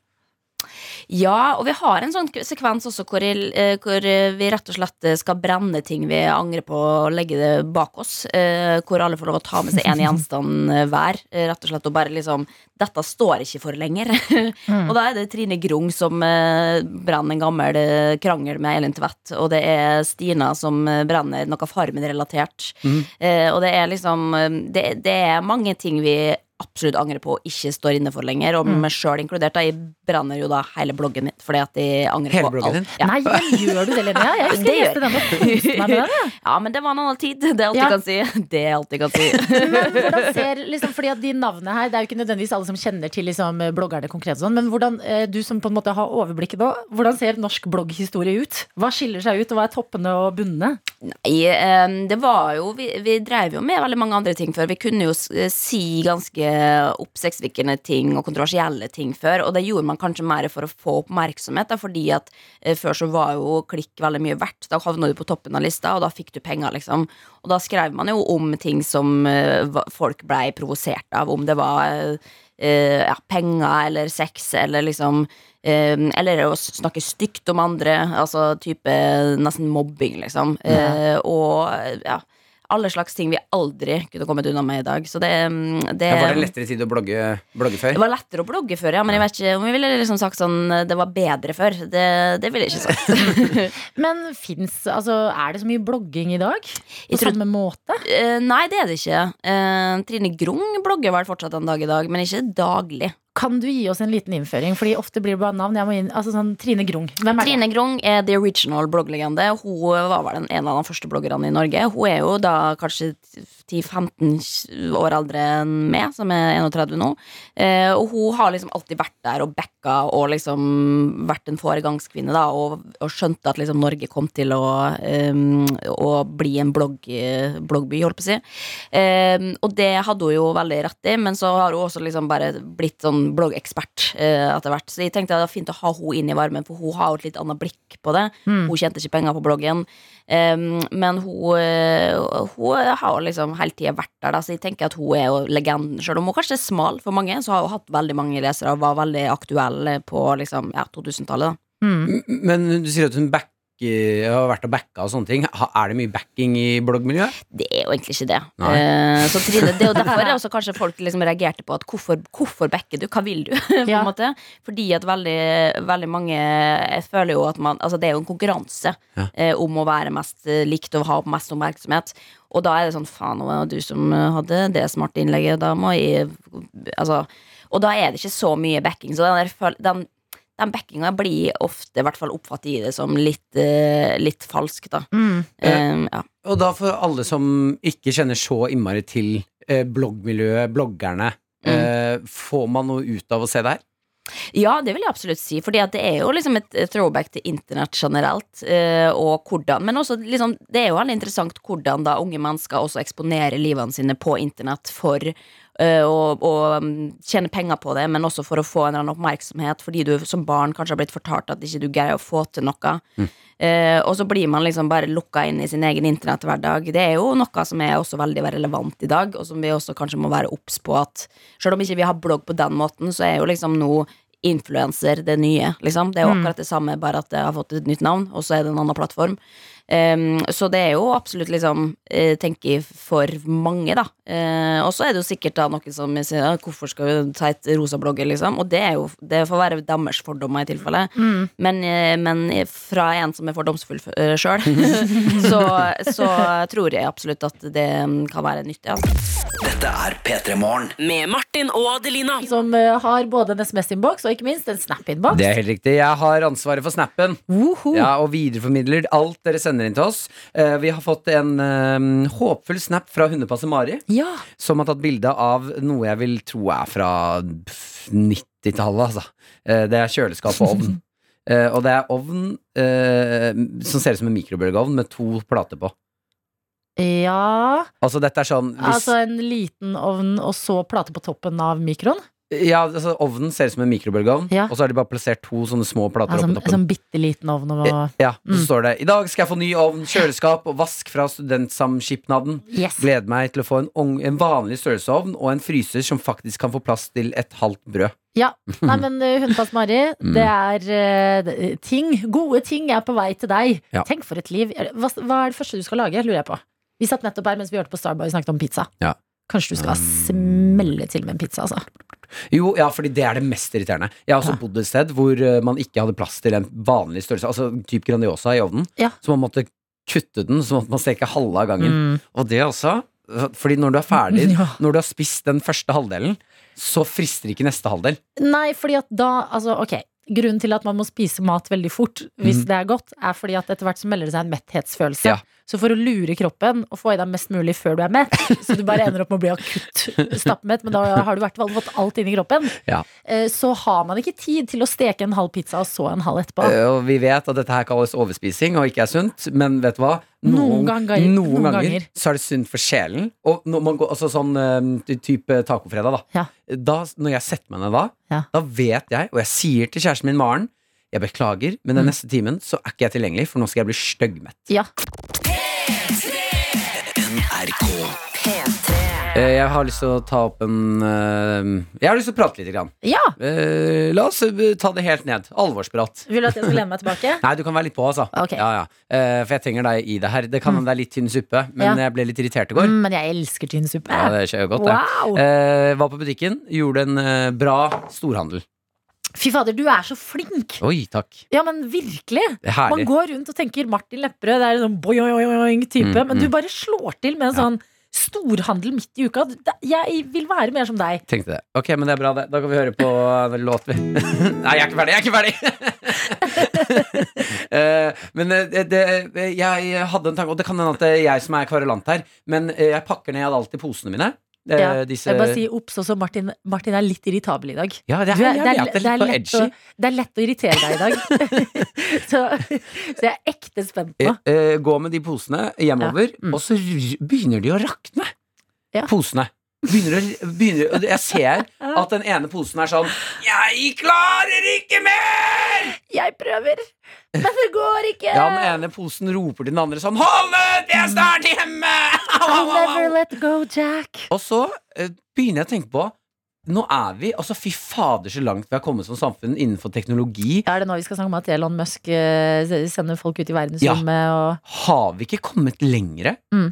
Ja, og vi har en sånn sekvens også hvor, eh, hvor eh, vi rett og slett eh, skal brenne ting vi angrer på og legge det bak oss. eh, Hvor alle får lov å ta med seg én gjenstand eh, hver. eh, Rett og slett og bare liksom Dette står ikke for lenger. Mm. og da er det Trine Grung som eh, brenner en gammel eh, krangel med Elin Tvedt. Og det er Stina som eh, brenner noe Farmen-relatert. Mm. Eh, Og det er liksom eh, det, det er mange ting vi absolutt angrer på og ikke står inne for lenger. Mm. Og meg sjøl inkludert. Da, jeg brenner jo da hele bloggen min fordi at jeg angrer Hele på bloggen alt. din? Ja. Nei, men gjør du det, Linnea? Jeg husker Det jeg gjør leste den og koste meg med den. jeg. ja, men det var en annen tid. Det er alt Ja. jeg kan si. Det er alt jeg kan si. Men hvordan ser, liksom, fordi at de navnene her, Det er jo ikke nødvendigvis alle som kjenner til liksom, bloggerne konkret, og sånn, men hvordan, eh, du som på en måte har overblikket nå, hvordan ser norsk blogghistorie ut? Hva skiller seg ut, og hva er toppene og bunnene? Nei, em, eh, det var jo vi, vi drev jo med veldig mange andre ting før. Vi kunne jo s- eh, si ganske oppsiktsvekkende ting og kontroversielle ting før. Og det gjorde man kanskje mer for å få oppmerksomhet, da, fordi at eh, før så var jo klikk veldig mye verdt. Da havna du på toppen av lista, og da fikk du penger, liksom. Og da skrev man jo om ting som eh, hva- folk blei provosert av, om det var eh, eh, ja, penger eller sex eller liksom eh, Eller å snakke stygt om andre, altså type nesten mobbing, liksom. Eh, og ja, alle slags ting vi aldri kunne kommet unna med i dag. Så det, mm, det Ja, Var det en lettere tid å blogge, blogge det før? var lettere å blogge før, ja, men jeg vet ikke om jeg ville liksom sagt sånn Det var bedre før. Det, det ville jeg ikke sagt. Men finnes, altså, er det så mye blogging i dag? På Jeg tror- samme måte? Eh, nei, det er det ikke. Eh, Trine Grung blogger vel fortsatt en dag i dag, men ikke daglig. Kan du gi oss en liten innføring? Fordi ofte blir det bare navn. Jeg må inn, altså sånn Trine Grung. Hvem er Trine Grung er the original blogglegende. Hun var vel den en av de første bloggerne i Norge. Hun er jo da kanskje 10-15 år eldre enn meg, som er 31 nå. Eh, og hun har liksom alltid vært der og backa og liksom vært en foregangskvinne, da, og, og skjønte at liksom Norge kom til å, em, å bli en blogg, bloggby, holdt på å si. Em, og det hadde hun jo veldig rett i, men så har hun også liksom bare blitt sånn bloggekspert eh, etter hvert. Så jeg tenkte det var fint å ha hun inn i varmen, for hun har jo et litt annet blikk på det. Mm, Hun tjente ikke penger på bloggen, Em, men hun, eh, hun har jo liksom hele tida vært der, da, så jeg tenker at hun er jo legenden. Selv om hun kanskje er smal for mange, så har hun hatt veldig mange lesere og var veldig aktuell på liksom, ja, 2000-tallet. da det? Mm. M- Men du sier at hun backer back, jeg har vært og backa og sånne ting. Ha- Er det mye backing i bloggmiljøet? Det er jo egentlig ikke det. Nei. Eh, så Trine, det er jo derfor også kanskje folk liksom reagerte på at hvorfor, hvorfor backer du? Hva vil du? på Ja. en måte. Fordi at veldig, veldig mange Jeg føler jo at man Altså det er jo en konkurranse Ja. eh, om å være mest eh, likt og ha mest oppmerksomhet. Og da er det sånn faen, det var du som eh, hadde det smarte innlegget, da må jeg Altså Og da er det ikke så mye backing. Så den, der, føl- den, den backinga blir ofte, i hvert fall oppfattet i det, som litt, eh, litt falsk, da. Mm. Eh, ja. Og da for alle som ikke kjenner så innmari til eh, bloggmiljøet, bloggerne, Mm. eh, får man noe ut av å se det her? Ja, det vil jeg absolutt si. Fordi at det er jo liksom et et throwback til internett generelt. eh, Og hvordan Men også liksom, det er jo veldig interessant hvordan da unge mennesker også eksponerer livene sine på internett for eh, å, å mm, tjene penger på det, men også for å få en eller annen oppmerksomhet, fordi du som barn kanskje har blitt fortalt at ikke du greier å få til noe. Eh, og så blir man liksom bare lukka inn i sin egen internetthverdag. Det er jo noe som er også veldig relevant i dag, og som vi også kanskje må være obs på at selv om ikke vi har blogg på den måten, så er jo liksom nå influenser det nye, liksom. Det er jo akkurat det samme, bare at det har fått et nytt navn, og så er det en annen plattform. Ehm, så det er jo absolutt liksom eh, tenker jeg, for mange, da. Eh, og så er det jo sikkert da noen som sier «Ja, 'hvorfor skal du ta et rosa blogger', liksom. Og det er jo Det får være deres fordommer i tilfelle. Men, eh, men fra en som er fordomsfull uh, sjøl, så, så tror jeg absolutt at det mm, kan være nyttig. Altså. Dette er P3 Morgen. Med Martin og Adelina. Som eh, har både en SMS-innboks og ikke minst en Snap-innboks. Det er helt riktig. Jeg har ansvaret for snappen. Woho! Ja, og videreformidler alt dere sender inn til oss. Eh, vi har fått en eh, håpfull snap fra hundepasser Mari, Ja. som har tatt bilde av noe jeg vil tro er fra pff, 90-tallet, altså. Eh, det er kjøleskap og ovn. Eh, og det er ovn eh, som ser ut som en mikrobølgeovn med to plater på. ja Altså, dette er sånn hvis, Altså en liten ovn og så plate på toppen av mikroen. Ja, altså, ovnen ser ut som en mikrobølgeovn, Ja. og så har de bare plassert to sånne små plater Altså, oppå en toppen. Eh, sånn bitte liten ovn. Og, Ja, og Mm. så står det I dag skal jeg få ny ovn, kjøleskap og vask fra studentsamskipnaden. yes. Gleder meg til å få en, ung, en vanlig størrelseovn og en fryser som faktisk kan få plass til et halvt brød. Ja. Nei, men eh, Hundepass Mari, Mm. det er eh, det- ting. Gode ting er på vei til deg. Ja. Tenk for et liv. Er det- Hva, hva er det første du skal lage, lurer jeg på. Vi satt nettopp her mens vi hørte på Starboy og snakket om pizza. Ja. Mm. Kanskje du skal smelle til med en pizza, altså. Jo, ja, fordi det er det mest irriterende. Jeg har også Ja. bodd et sted hvor eh, man ikke hadde plass til en vanlig størrelse, altså typ Grandiosa i ovnen, Ja. Mm. så man måtte kutte den, så måtte man steke halve av gangen. Og det også, eh, fordi når du er ferdig, Ja. når du har spist den første halvdelen, så frister ikke neste halvdel. Nei, fordi at da Altså, ok. Grunnen til at man må spise mat veldig fort hvis det er godt, er fordi at etter hvert så melder det seg en metthetsfølelse. Mhm. Ja. Så for å lure kroppen og få i deg mest mulig før du er mett, så du bare ender opp med å bli akutt stappmett, men da har du i hvert fall fått alt inn i kroppen, Ja. eh, så har man ikke tid til å steke en halv pizza og så en halv etterpå. Eh, Og vi vet at dette her kalles overspising og ikke er sunt, men vet du hva? Noen ganger- noen noen ganger, ganger. så er det sunt for sjelen. Og når man går, altså sånn eh, type tacofredag, da. Ja. da. Når jeg setter meg ned da, Ja. da vet jeg, og jeg sier til kjæresten min Maren jeg beklager, men Mm. den neste timen så er ikke jeg tilgjengelig, for nå skal jeg bli styggmett. Ja. NRK. Eh, Jeg har lyst til å ta opp en eh, Jeg har lyst til å prate lite grann. ja! Eh, La oss eh, ta det helt ned. Alvorsprat. Vil du at jeg skal lene meg tilbake? Nei, du kan være litt på, altså. Ok. Mm. Ja, ja. Eh, for jeg trenger deg i det her. Det kan hende det er litt tynn suppe, men Ja. jeg ble litt irritert i går. Mm, Men jeg elsker tynn suppe. Ja, det skjer jo godt, det. wow! Eh, var på butikken, gjorde en eh, bra storhandel. Fy fader, du er så flink! Oi, takk. Ja, men virkelig! Det er herlig. Man går rundt og tenker Martin Lepperød, det er en sånn boing-boing-type, Mm, men mm. du bare slår til med en sånn storhandel midt i uka. Det- Jeg vil være mer som deg. Tenkte det. Ok, men det er bra, det. Da kan vi høre på eh, låt, vi. Nei, jeg er ikke ferdig! Jeg er ikke ferdig! Eh, men eh, det, eh, jeg hadde en tanke, og det kan hende at det er jeg som er kvarulant her, men eh, jeg pakker ned alltid posene mine. Eh, Ja, disse Jeg bare sier ops også, Martin, Martin er litt irritabel i dag. Ja, det er, Du jeg vet, det er litt for edgy. å, det er lett å irritere deg i dag. så, så jeg er ekte spent nå. Eh, eh, gå med de posene hjemover, Ja. Mm. og så r- begynner de å rakne. Ja. Posene. Begynner å, begynner, og jeg ser at den ene posen er sånn Jeg klarer ikke mer! Jeg prøver, men det går ikke! Ja, den ene posen roper til den andre sånn Hold Mm. ut, vi er snart hjemme! Au, au, I'll au, never au. let go, Jack. Og så eh, begynner jeg å tenke på nå er vi altså Fy fader, så langt vi har kommet som samfunn innenfor teknologi. Er det nå vi skal snakke om at Elon Musk eh, sender folk ut i verdensrommet og Har vi ikke kommet lengre Mm.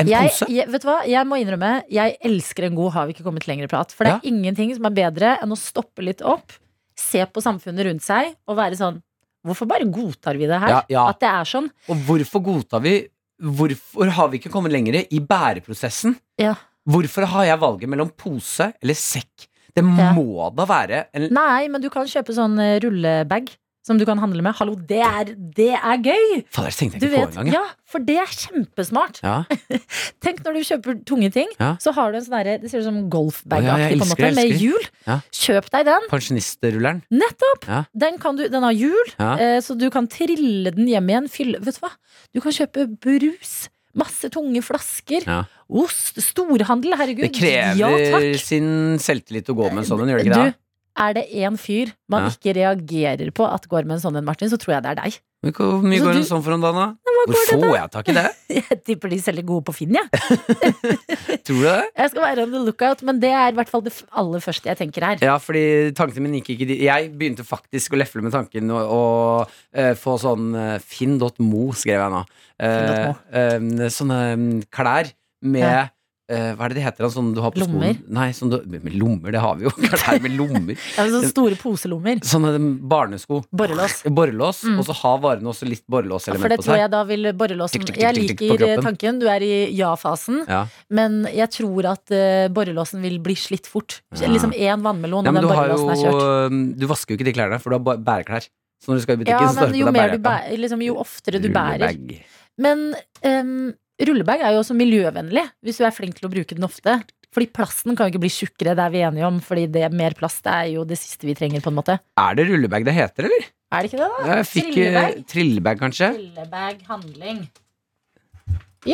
enn jeg, pose? jeg, vet du hva? jeg må innrømme, jeg elsker en god har vi ikke kommet lenger prat. For det er ingenting som er bedre enn å stoppe litt opp, se på samfunnet rundt seg og være sånn Hvorfor bare godtar vi det her? Ja, ja. At det er sånn? Og hvorfor godtar vi Hvorfor har vi ikke kommet lenger i bæreprosessen? Ja. Hvorfor har jeg valget mellom pose eller sekk? Det Ja. må da være en Nei, men du kan kjøpe sånn eh, rullebag som du kan handle med. Hallo, det er, det er gøy! Fader, det tenkte Du jeg ikke på vet, engang. jeg. ja, For det er kjempesmart. Ja. Tenk når du kjøper tunge ting, Ja. så har du en sånn derre- Det ser ut som Å, ja, golfbag-aktig, jeg på en elsker måte, det, jeg med elsker det. hjul. Ja. Kjøp deg den. Pensjonistrulleren. Nettopp! Ja. Den, kan du, den har hjul, Ja. eh, så du kan trille den hjem igjen. Fylle, vet du hva? Du kan kjøpe brus. Masse tunge flasker. Ja. Ost. Storhandel, herregud. Det krever Ja, takk. sin selvtillit å gå med en sånn en, gjør det Du, ikke det? er det én fyr man Ja. ikke reagerer på at går med en sånn en, Martin, så tror jeg det er deg. Men Hvor mye Altså, går du- en sånn for om dagen, da? Hvor får jeg tak i det? Jeg tipper de selger gode på Finn, jeg. Tror du det? Jeg skal være on the lookout, men det er i hvert fall det f- aller første jeg tenker her. Ja, fordi tankene mine gikk ikke dit. Jeg begynte faktisk å lefle med tanken og, og eh, få sånn eh, Finn.mo, skrev jeg nå. Eh, eh, sånne mm, klær med Ja. eh, Hva er det det heter? da, Sånn du har på Lommer? skolen? Nei, sånn du, med lommer, det har vi jo. Klær med lommer. Jeg har sånne store poselommer. Sånne mm, barnesko. Borrelås. Borrelås. Mm. Og så har varene også litt Ja, for borrelåselement det på tror seg. jeg da vil borrelåsen Tikk, tikk, tikk, Jeg tikk, tikk på liker eh, kroppen. tanken, du er i ja-fasen, Ja. men jeg tror at eh, borrelåsen vil bli slitt fort. Ja. Liksom én vannmelon, og Nei, men den du, har borrelåsen er jo, mm, kjørt. du vasker jo ikke de klærne, for du har ba- bæreklær. Så når du skal i Ja, butikken, så tar men du jo, på deg mer du bærejakka. bærer, liksom, jo oftere du bærer. Rullebag. Men ehm, rullebag er jo også miljøvennlig, hvis du er flink til å bruke den ofte. Fordi plasten kan jo ikke bli tjukkere, det er vi enige om. Fordi det mer plast er jo det siste vi trenger, på en måte. Er det rullebag det heter, eller? Er det ikke det, da? Jeg fikk trillebag, Trillebag? trillebag kanskje? Rullebag, handling.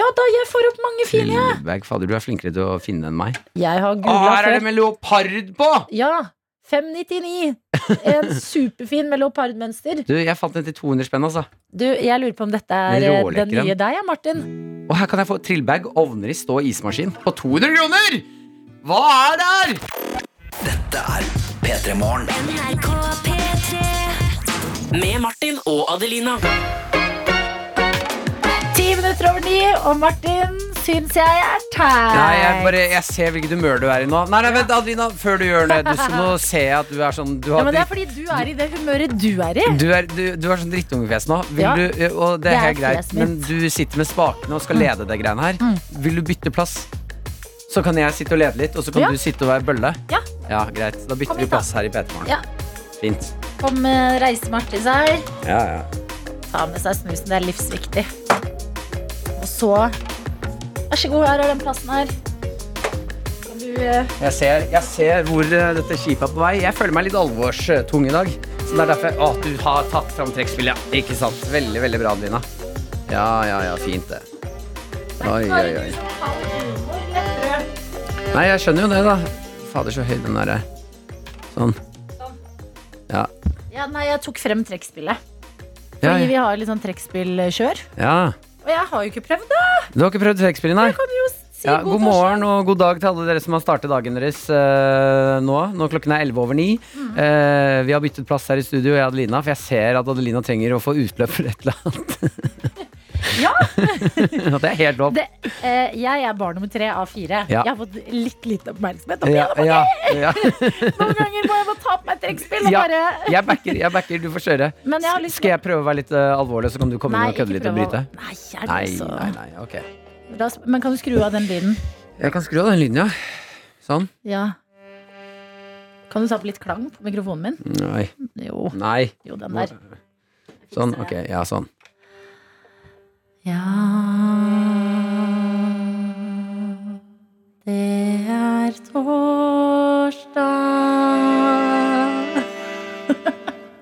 Ja da, jeg får opp mange fine, jeg. Trillebag, fader, du er flinkere til å finne enn meg. Jeg har Å, googla her er det før. med leopard på! Ja. 599. En superfin med leopardmønster. Du, jeg fant den til 200 spenn, altså. Du, jeg lurer på om dette er eh, den Rålekkeren. nye deg, ja, Martin. Og her kan jeg få trillebag, ovner i stå og ismaskin på 200 kroner! Hva er det her?! Dette er P3 Morgen. Med Martin og Adelina. Ti minutter over ni, og Martin syns jeg er teit. Nei, jeg, bare, jeg ser hvilket humør du er i nå. Nei, nei, vent, Adelina, før du gjør det. Du skal nå se at du er sånn Du Ja, har men det er dritt- fordi du er i det humøret du er i. du er, du, du er sånn drittungefjes nå, Vil Ja. du, og Det det er er helt greit, fjeset men mitt. Mm. du sitter med spakene og skal lede det greiene her. Vil du bytte plass? Så kan jeg sitte og lede litt, og så kan Ja. du sitte og være bølle. Ja. Ja, greit. Da bytter Kom vi hit, da. plass her i P3morgen. Ja. Fint. Kom, eh, reise Martin seg. Ja, ja. Ta med seg snusen, det er livsviktig. Og så Vær så god, her er den plassen her. Kan du eh, Jeg ser, jeg ser hvor eh, dette skipet er på vei. Jeg føler meg litt alvorstung i dag. Så det er derfor Å, du har tatt fram trekkspillet, ja. Ikke sant. Veldig, veldig bra, Adelina. Ja, ja, ja. Fint, det. Oi, oi, oi. Nei, jeg skjønner jo det, da. Fader, så høy den der er. Sånn. Ja. Ja, nei, jeg tok frem trekkspillet. Ja, Fordi ja. vi har litt sånn trekkspillkjør. ja. Og jeg har jo ikke prøvd det. Du har ikke prøvd trekkspillet, nei? Kan du jo si Ja, god morgen og god dag til alle dere som har startet dagen deres eh, nå. Nå klokken er 11 over 9. Mhm. Eh, vi har byttet plass her i studio, jeg og Adelina, for jeg ser at Adelina trenger å få utløp for et eller annet. Ja. At det er helt lov. Det, eh, jeg er barn nummer tre av fire. Ja. Jeg har fått litt lite oppmerksomhet. Ja, opp igjennom. ja, ja. Noen ganger må jeg bare ta på meg et trekkspill og Ja. bare Jeg backer, jeg backer, du får kjøre. Men jeg har lyst til Skal jeg prøve å være litt eh, alvorlig, så kan du komme inn og kødde litt og prøv å- bryte? Nei, er det Nei, altså- nei, nei, ok. Da, men kan du skru av den lyden? Jeg kan skru av den lyden, ja. Sånn. Ja. Kan du ta på litt klang på mikrofonen min? Nei. Jo, nei. jo den der. Sånn, ok. Ja, sånn. Ja, det er torsdag.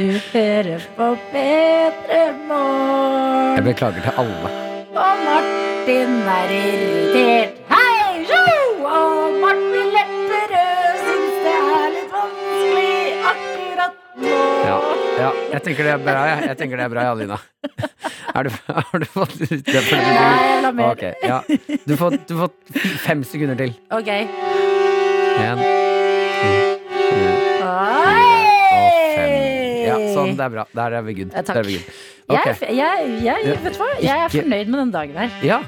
Du hører på P3 Morgen. Jeg beklager til alle. Og Martin er irritert. Hei, sjo! Og Martin Lepperød syns det er litt vanskelig akkurat nå. Ja, ja. Jeg tenker det er bra, jeg. Jeg tenker det er bra, ja, Lina. Er du, har du fått litt det for Nei, jeg la mer. Ok, ja. Du får, du får fem sekunder til. Ok. En, ja, sånn, det er bra. Der er vi good. Ja, takk. Der er vi good. Jeg, Ok. er f- jeg, jeg, vet du hva? jeg er Ikke- fornøyd med denne dagen her. Ja,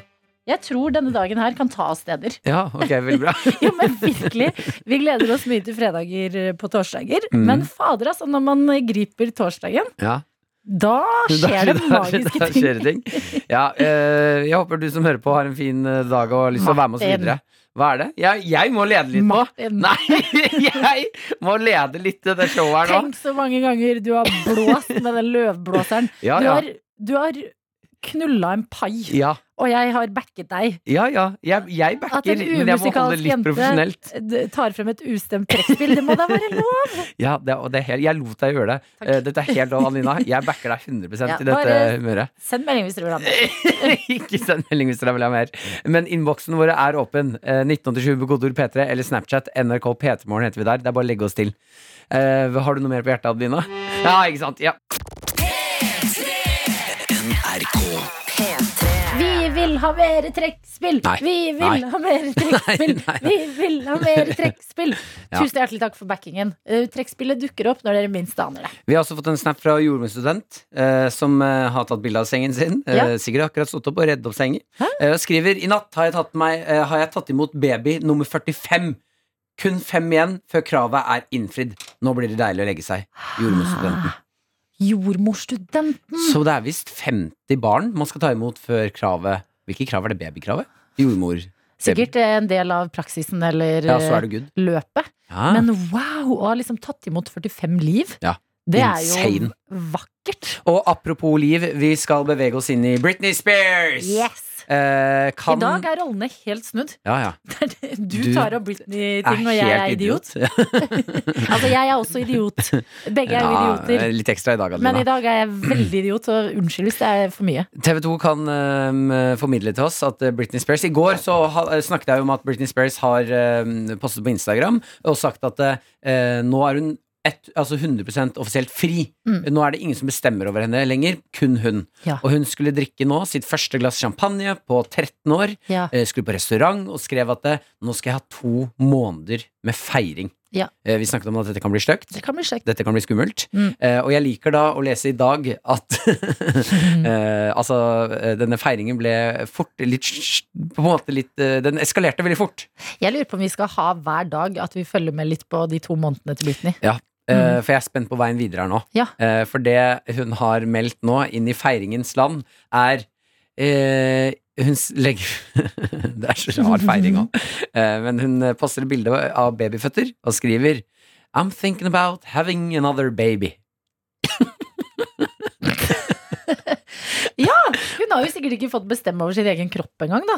Jeg tror denne dagen her kan ta oss steder. ja, ok, veldig bra. Jo, men virkelig. Vi gleder oss mye til fredager på torsdager. Mm. Men fader, altså, når man griper torsdagen, Ja. da skjer det Da skjer- da magiske ting. skjer det ting. Ja, eh, jeg håper du som hører på, har en fin eh, dag og har lyst til å være med oss Martin. videre. Hva er det? Jeg, jeg må lede litt nå. Martin. Nei, jeg må lede litt til det showet her nå. Tenk så mange ganger du har blåst med den løvblåseren. Ja, Du ja. har, du har knulla en pai, Ja, og jeg har backet deg. ja. ja. Jeg, jeg At backer, en men jeg må holde umusikalsk litt profesjonelt. jente d- tar frem et ustemt trekkspill, det må da være lov? Ja, det, er- og det er helt, jeg lot deg gjøre det. Takk. Eh, Dette er helt lov, Alina. Jeg backer deg 100 Ja, i dette bare- humøret. Send melding hvis du vil ha med. Ikke send melding hvis dere vil ha mer. Men innboksen vår er åpen. Eh, 1987 på kodord P3 eller Snapchat. NRK P3morgen heter vi der. Det er bare å legge oss til. Eh, har du noe mer på hjertet, Adelina? Ja, ikke sant? Ja. NRK. Vi vil ha mer trekkspill! Nei. Vi Nei. vil ha mer trekkspill! Nei, nei, Vi vil ha mer trekkspill! Ja. Tusen hjertelig takk for backingen. Eh, Trekkspillet dukker opp når dere minst aner det. Vi har også fått en snap fra jordmorstudent eh, som eh, har tatt bilde av sengen sin. Eh, Ja. Sikkert akkurat stått opp og reddet opp sengen. Eh, og skriver i natt har jeg, tatt meg, eh, har jeg tatt imot baby nummer 45. Kun fem igjen før kravet er innfridd. Nå blir det deilig å legge seg. Jordmorstudenten. Ah. Jordmorstudenten! Så det er visst 50 barn man skal ta imot før kravet Hvilke krav er det? Babykravet? Jordmor? Sikkert eh, en del av praksisen eller Ja, så er det good. eh, løpet. Ja. Men wow, å ha liksom tatt imot 45 liv, Ah. Ja. det er jo Insane. vakkert. Og apropos liv, vi skal bevege oss inn i Britney Spears! Eh, kan I dag er rollene helt snudd. Ja, ja. Du Du tar opp Britney-ting, og jeg er idiot. Altså, jeg er også idiot. Begge er jo Ja, idioter. litt ekstra i dag, Adelina. Men i dag er jeg veldig idiot, og unnskyld hvis det er for mye. TV 2 kan ehm, formidle til oss at eh, Britney Spears I går så ha, eh, snakket jeg om at Britney Spears har ehm, postet på Instagram og sagt at eh, nå er hun ett- altså 100 offisielt fri. Nå er det ingen som bestemmer over henne lenger, kun hun. Mm. Ja. Og hun skulle drikke nå sitt første glass champagne på 13 år. Ja. eh, Skulle på restaurant og skrev at eh, nå skal jeg ha to måneder med feiring. Ja. Eh, Vi snakket om at dette kan bli stygt Det kan bli kjekt. dette kan bli skummelt. Mm. Eh, og jeg liker da å lese i dag at Mm. eh, Altså, eh, denne feiringen ble fort litt sj- På en måte litt eh, Den eskalerte veldig fort. Jeg lurer på om vi skal ha hver dag at vi følger med litt på de to månedene til Britney. Eh, For jeg er spent på veien videre her nå. Mm. Ja. Eh, for det hun har meldt nå, inn i feiringens land, er eh, hun s- legger Det er så rar feiring òg. Eh, men hun eh, poster et bilde av babyføtter og skriver I'm thinking about having another baby. Ja, Hun har jo sikkert ikke fått bestemme over sin egen kropp engang, da.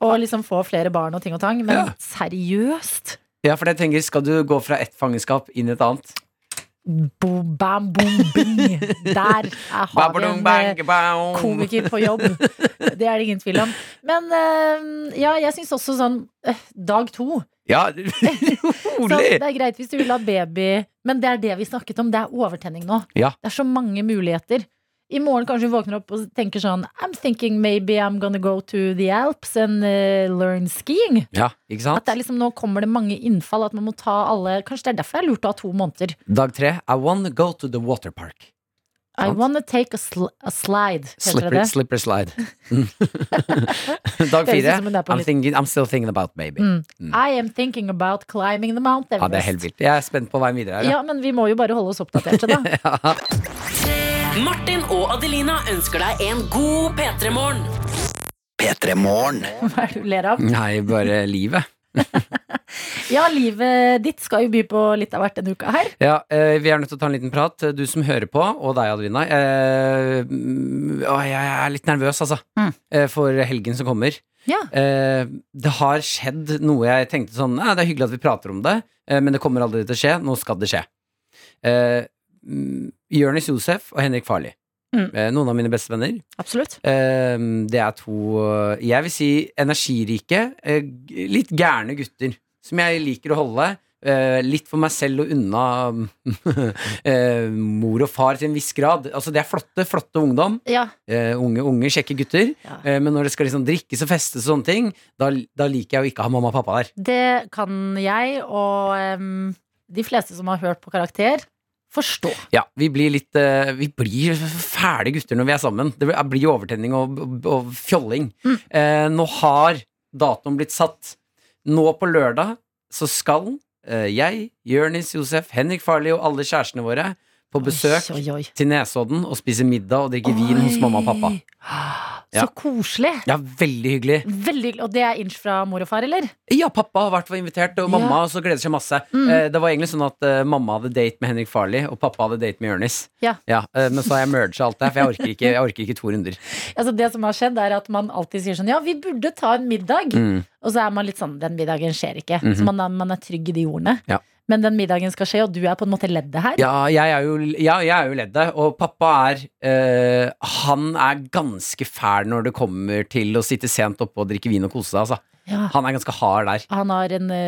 Og liksom få flere barn og ting og tang. Men Ja. seriøst? Ja, for jeg tenker, skal du gå fra ett fangenskap inn i et annet? Bo, bam, boom, bing. Der er- har vi en eh, komiker på jobb. Det er det ingen tvil om. Men eh, ja, jeg syns også sånn eh, dag to. Ja, Så rolig! Sånn, det er greit hvis du vil ha baby, men det er det vi snakket om. Det er overtenning nå. Ja. Det er så mange muligheter. I morgen kanskje hun våkner opp og tenker sånn I'm thinking maybe I'm gonna go to the Alps and eh, learn skiing. Ja, ikke At sant? det er liksom, Nå kommer det mange innfall. At man må ta alle Kanskje det er derfor jeg lurte å ha to måneder. Dag tre. I wanna go to the water park. I Sant. wanna take a, sl a slide, heter Slipper, det det. slipper slide. Dag Høres ut fire. som hun er på I'm, litt- thinking, I'm still thinking about baby. Mm. I am thinking about climbing the Mount Everest. Ja, det er helt vilt. Jeg er spent på veien videre her. Ja, men vi må jo bare holde oss oppdaterte, da. Ja. Martin og Adelina ønsker deg en god P3-morgen. P3 Morgen. Hva er det du ler av? Nei, bare livet. Ja, livet ditt skal jo by på litt av hvert denne uka her. Ja, eh, Vi er nødt til å ta en liten prat, du som hører på, og deg, Adelina. Eh, mm, å, jeg er litt nervøs, altså, Mm. eh, for helgen som kommer. Ja. Eh, det har skjedd noe jeg tenkte sånn «Nei, Det er hyggelig at vi prater om det, eh, men det kommer aldri til å skje. Nå skal det skje. Eh, mm, Jonis Josef og Henrik Farli. Mm. Eh, noen av mine beste venner. Absolutt. Eh, det er to, eh, jeg vil si, energirike, eh, g- litt gærne gutter. Som jeg liker å holde eh, litt for meg selv og unna eh, mor og far til en viss grad. Altså, det er flotte, flotte ungdom. Ja. Eh, unge, unge, kjekke gutter. Ja. Eh, men når det skal liksom drikkes og festes og sånne ting, da, da liker jeg å ikke ha mamma og pappa der. Det kan jeg og em, de fleste som har hørt på Karakter, forstå. Ja, Vi blir litt eh, Vi blir fæle gutter når vi er sammen. Det blir- blir overtenning og, og, og fjolling. Eh, nå har datoen blitt satt. Nå på lørdag så skal eh, jeg, Jørnis, Josef, Henrik Farley og alle kjærestene våre på besøk Oi, oi, oi. til Nesodden og spise middag og drikke vin hos mamma og pappa. Så Ja. koselig. Ja, veldig hyggelig. Veldig, hyggelig. og det er inch fra mor og far, eller? Ja, pappa har vært og invitert, og mamma også gleder seg masse. Mm. Eh, det var egentlig sånn at eh, mamma hadde date med Henrik Farley, og pappa hadde date med Jonis. Ja. eh, men så har jeg merga alt det her, for jeg orker ikke, jeg orker ikke to runder. Altså, det som har skjedd, er at man alltid sier sånn Ja, vi burde ta en middag. Mm. Og så er man litt sånn Den middagen skjer ikke. Så man er, man er trygg i de ordene. Mhm. Ja. Men den middagen skal skje, og du er på en måte leddet her. Ja, jeg er jo, ja, jeg er jo leddet, og pappa er eh, Han er ganske fæl når det kommer til å sitte sent oppe og drikke vin og kose seg, altså. Ja. Han er ganske hard der. Han har en ø,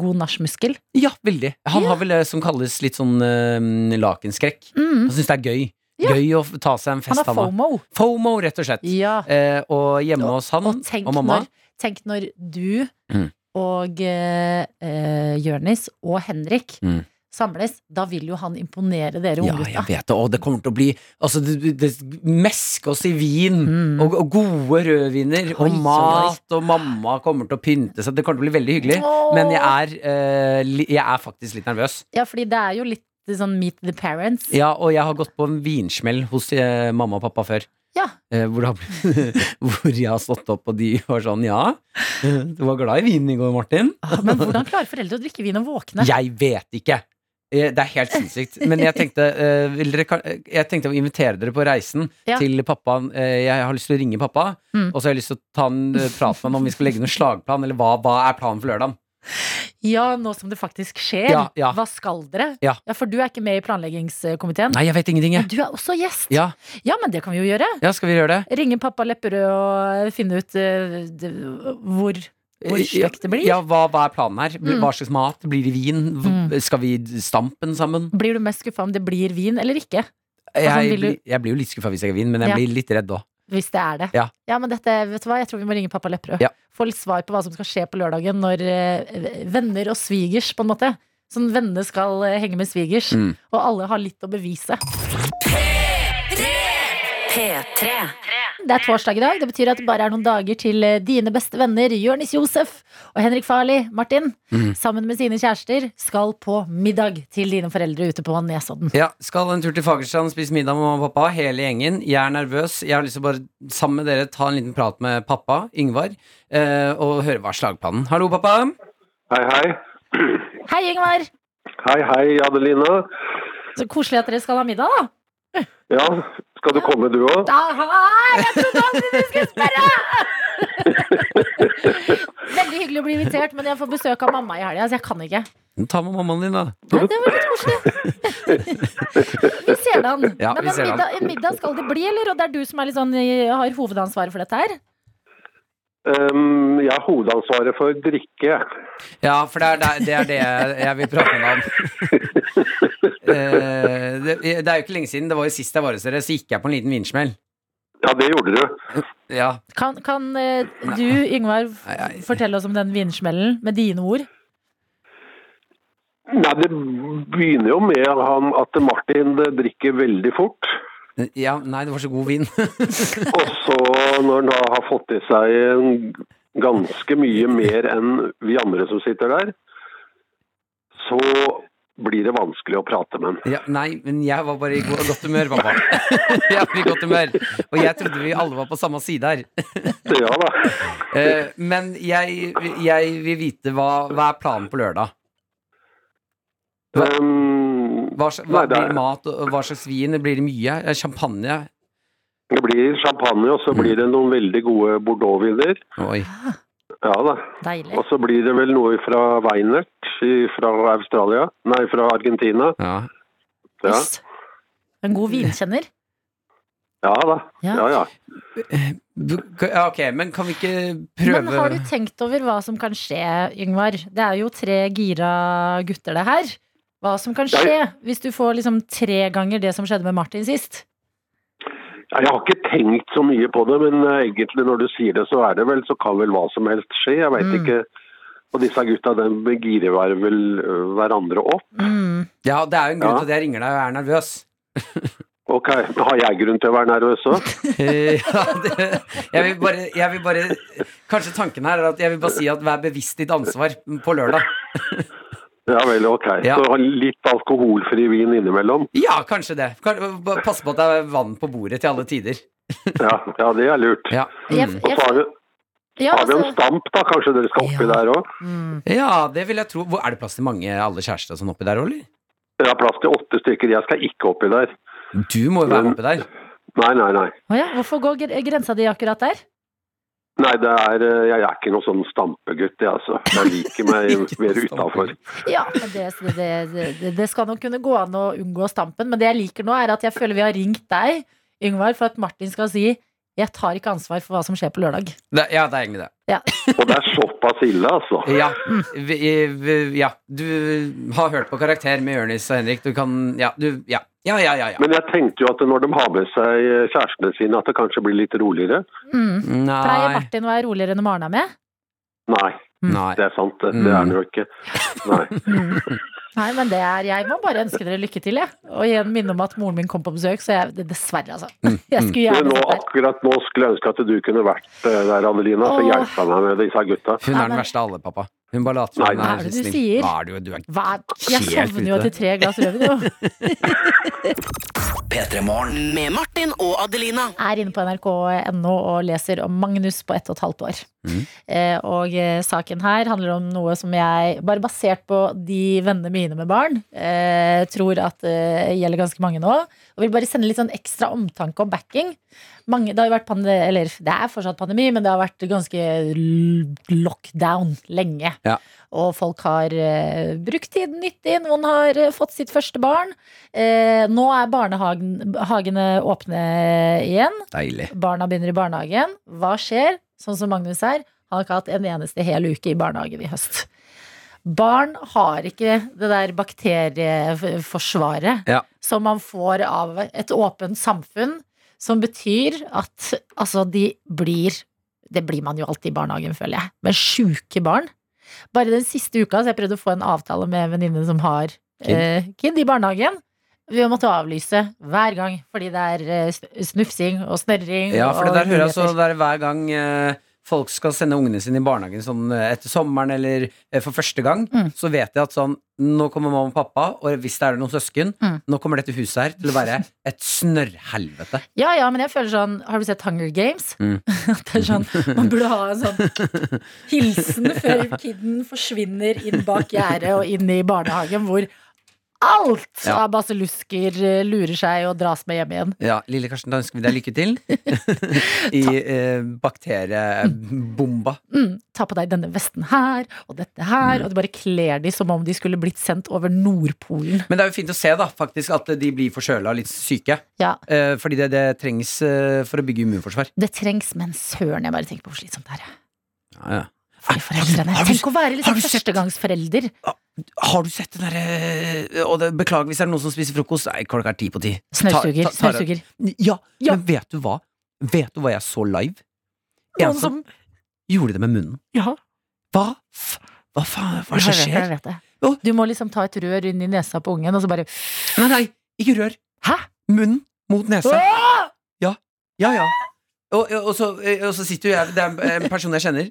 god nachmuskel. Ja, veldig. Han har vel det som kalles litt sånn eh, lakenskrekk. Mm. Han syns det er gøy. Ja. Gøy å f- ta seg en Han fest, har han òg. FOMO. FOMO, rett og slett. Ja. Eh, og hjemme hos han Og og, tenk, mamma. når, tenk når du Mm. og eh, eh, Jørnis og Henrik Mm. samles, da vil jo han imponere dere Ja, unggutta. jeg vet det. Og det kommer til å bli altså, det, det Meske oss i vin, Mm. og, og gode rødviner, Oi, og oi, oi. mat, og mamma kommer til å pynte seg. Det kommer til å bli veldig hyggelig. Åh. Men jeg er, eh, li- jeg er faktisk litt nervøs. Ja, fordi det er jo litt sånn meet the parents. Ja, og jeg har gått på en vinsmell hos eh, mamma og pappa før. Ja. Eh, hvor, det har blitt, hvor jeg har stått opp, og de var sånn Ja, du var glad i vinen i går, Martin. Ah, Men hvordan klarer foreldre å drikke vin og våkne? Jeg vet ikke. Eh, Det er helt sinnssykt. Men jeg tenkte, eh, vil dere, kan- eh, jeg tenkte å invitere dere på reisen Ja. til pappa. Eh, jeg har lyst til å ringe pappa, Mm. og så har jeg lyst til å ta en eh, prat med han om vi skal legge noen slagplan, eller hva, hva er planen for lørdagen? Ja, nå som det faktisk skjer. Ja, ja. Hva skal dere? Ja. For du er ikke med i planleggingskomiteen. Nei, jeg vet ingenting, Men jeg. du er også gjest. Ja, Ja, men det kan vi jo gjøre. ja skal vi gjøre det? Ringe pappa Lepperød og finne ut eh, d- hvor, hvor Eh, Ja, slekt det blir. Ja, hva, hva er planen her? Mm. Hva slags mat? Blir det vin? Hv- Skal vi stampen sammen? Blir du mest skuffa om det blir vin eller ikke? sånn Jeg, vil du- blir- jeg blir jo litt skuffa hvis jeg har vin, men jeg Ja. blir litt redd òg. Hvis det er det. Ja. men dette, vet du hva, jeg tror vi må ringe pappa Lepperød. Ja. Få litt svar på hva som skal skje på lørdagen når eh, venner og svigers, på en måte. Sånn venner skal eh, henge med svigers, Mm. og alle har litt å bevise. P3. Det er torsdag i dag. Det betyr at det bare er noen dager til eh, dine beste venner Jonis Josef og Henrik Farli, Martin, Mm. sammen med sine kjærester, skal på middag til dine foreldre ute på Nesodden. Ja, skal en tur til Fagerstrand, spise middag med mamma og pappa, hele gjengen. Jeg er nervøs. Jeg har lyst til å bare sammen med dere ta en liten prat med pappa, Yngvar, eh, og høre hva er slagplanen. Hallo, pappa. Hei, hei. Hei, Yngvar! Hei, hei, Adelina. Så koselig at dere skal ha middag, da. Ja, skal du komme du òg? da ah, jeg trodde aldri du skulle spørre! Veldig hyggelig å bli invitert, men jeg får besøk av mamma i helga, så jeg kan ikke. Ta med mammaen din, da. Ja, det var litt koselig. vi ser den. Ja, vi men en ser den. middag, en middag skal det bli, eller? Og det er du som er litt sånn, eh, har hovedansvaret for dette her? Um, jeg har hovedansvaret for drikke. Ja, for det er det, er- det, er det jeg- jeg vil prate med deg om. Eh, det, det er jo ikke lenge siden. Det var jo sist jeg var hos dere, så gikk jeg på en liten vinsmell. Ja, det gjorde du. Ja. Kan, kan eh, du, Yngvar, f- Nei, nei. fortelle oss om den vinsmellen med dine ord? Nei, det begynner jo med han at Martin drikker veldig fort. ja. Nei, det var så god vin. Og så, når han da har fått i seg en- ganske mye mer enn vi andre som sitter der, så blir det vanskelig å prate med han. Ja, nei, men jeg var bare i go- godt humør, pappa. Jeg var i godt humør. Og jeg trodde vi alle var på samme side her. Ja da. Eh, men jeg, jeg vil vite hva, hva er planen på lørdag. Hva- Um, Hva, sl- hva Nei, det er- blir mat, og hva slags vin? Blir det mye? Eh, Champagne? det blir champagne, og så blir det noen veldig gode bordeauxviner. Oi. Ja da. Deilig. Og så blir det vel noe fra Weinert i- fra Australia, nei, fra Argentina. Ja. Ja, Jøss. En god vinkjenner. ja da. Ja. Ja, ja. Ja, Ok, men kan vi ikke prøve Men har du tenkt over hva som kan skje, Yngvar? Det er jo tre gira gutter, det her. Hva som kan skje hvis du får liksom tre ganger det som skjedde med Martin sist? Ja, Jeg har ikke tenkt så mye på det, men eh, egentlig når du sier det, så er det vel, så kan vel hva som helst skje. Jeg veit Mm. ikke. Og disse gutta de girer hver- vel øh, hverandre opp. Mm. Ja, det er jo en grunn Ja. til at jeg ringer deg og er nervøs. Ok, Har jeg grunn til å være nervøs òg? Eh, ja, det, jeg, vil bare, jeg vil bare Kanskje tanken her er at jeg vil bare si at vær bevisst ditt ansvar på lørdag. Ja vel, ok. Ja. Så ha litt alkoholfri vin innimellom. Ja, kanskje det. Kan, bare passe på at det er vann på bordet til alle tider. Ja, ja det er lurt. Ja, Jeg, mm. Og så jeg, har vi, ja, har vi en altså, stamp, da. Kanskje dere skal oppi Ja. der òg? mm. ja det vil jeg tro. Hvor, er det plass til mange alle kjærester og sånn oppi der, eller? Dere har plass til åtte stykker. Jeg skal ikke oppi der. Du må jo være med oppi der. Nei, nei, nei. Å ja, Hvorfor går gre- grensa di akkurat der? Nei, det er, eh, Jeg er ikke noen sånn stampegutt, jeg altså. Jeg liker meg Ikke mer noe utafor. Ja, men det, det, det, det skal nok kunne gå an å unngå stampen, men det jeg liker nå, er at jeg føler vi har ringt deg, Yngvar, for at Martin skal si 'jeg tar ikke ansvar for hva som skjer på lørdag'. Det, ja, det er egentlig det. Og det er såpass ille, altså. Ja, vi, vi, ja. Du har hørt på Karakter med Jonis og Henrik. Du kan Ja, du Ja, ja, ja. ja, ja. Men jeg tenkte jo at når de har med seg eh, kjærestene sine, at det kanskje blir litt roligere. Mm. Pleier Nei. Martin å være roligere når Maren er med? Nei, Nei. det er sant. Det, det Mm. er han jo ikke. Nei. Nei, men det er, jeg må bare ønske dere lykke til, jeg. Og igjen minne om at moren min kom på besøk, så jeg, det- dessverre, altså. Mm. Jeg skulle Men gjerne nå, sett der. akkurat nå skulle jeg ønske at du kunne vært eh, der, Adelina, så Åh. hjelpa meg med disse gutta. Nei, Hun er den men- verste av alle, pappa. Hun bare later som Nei, hun hva er det du sier? Hva er det jo? Du er Hva? Jeg Helt sovner jo ute. etter tre glass rødvin, jo. P3 Morgen. Med Martin og Adelina. er inne på nrk.no og leser om Magnus på ett og et halvt år. Eh, og eh, saken her handler om noe som jeg, bare basert på de vennene mine med barn, eh, tror at eh, gjelder ganske mange nå. Og vil bare sende litt sånn ekstra omtanke og backing. Mange, det har jo vært pande, eller det er fortsatt pandemi, men det har vært ganske l- lockdown lenge. Ja. Og folk har eh, brukt tiden nyttig, noen har eh, fått sitt første barn. Eh, nå er barnehagene åpne igjen. deilig. Barna begynner i barnehagen. Hva skjer? Sånn som Magnus er, han har ikke hatt en eneste hel uke i barnehagen i høst. Barn har ikke det der bakterieforsvaret Ja. som man får av et åpent samfunn, som betyr at altså, de blir Det blir man jo alltid i barnehagen, føler jeg. Men sjuke barn. Bare den siste uka så jeg prøvde å få en avtale med en venninne som har Kid. eh, kid i barnehagen. Vi måtte avlyse hver gang, fordi det er eh, sn- snufsing og snørring. Ja, for det og der hører jeg så uretter. det er hver gang eh, folk skal sende ungene sine i barnehagen sånn eh, etter sommeren eller eh, for første gang, Mm. så vet jeg at sånn Nå kommer mamma og pappa, og hvis det er noen søsken, Mm. nå kommer dette huset her til å være et snørrhelvete. Ja, ja, men jeg føler sånn Har du sett Hunger Games? Mm. At det er sånn, Man burde ha en sånn hilsen før kiden forsvinner inn bak gjerdet og inn i barnehagen, hvor alt Ja. av baselusker eh, lurer seg og dras med hjem igjen. Ja, lille Karsten, da ønsker vi deg lykke til i eh, bakteriebomba. Mm, ta på deg denne vesten her og dette Mm. her, og du bare kler de som om de skulle blitt sendt over Nordpolen. Men det er jo fint å se da, faktisk at de blir forkjøla og litt syke. Ja, eh, fordi det, det trengs eh, for å bygge immunforsvar. det trengs, men søren, jeg bare tenker på hvor slitsomt det er. jeg. Ja, ja. For de foreldrene. Har du- Tenk å være har liksom du sett- førstegangsforelder. Har du sett den derre Og det, beklager hvis det er noen som spiser frokost. Nei, klokka er ti på ti. Snøsuger. Ta- ta- ta- Snøsuger. Ja, Ja. men vet du hva? Vet du hva jeg så live? En Noen som som gjorde det med munnen. Ja. Hva f... Hva faen? Hva er det Jeg som vet det, jeg skjer? vet det. Jo. Du må liksom ta et rør inn i nesa på ungen, og så bare Nei, nei, ikke rør. Hæ? Munnen mot nesa. Ja. Ja, ja. Og, og, så, og så sitter jo jeg Det er en person jeg kjenner.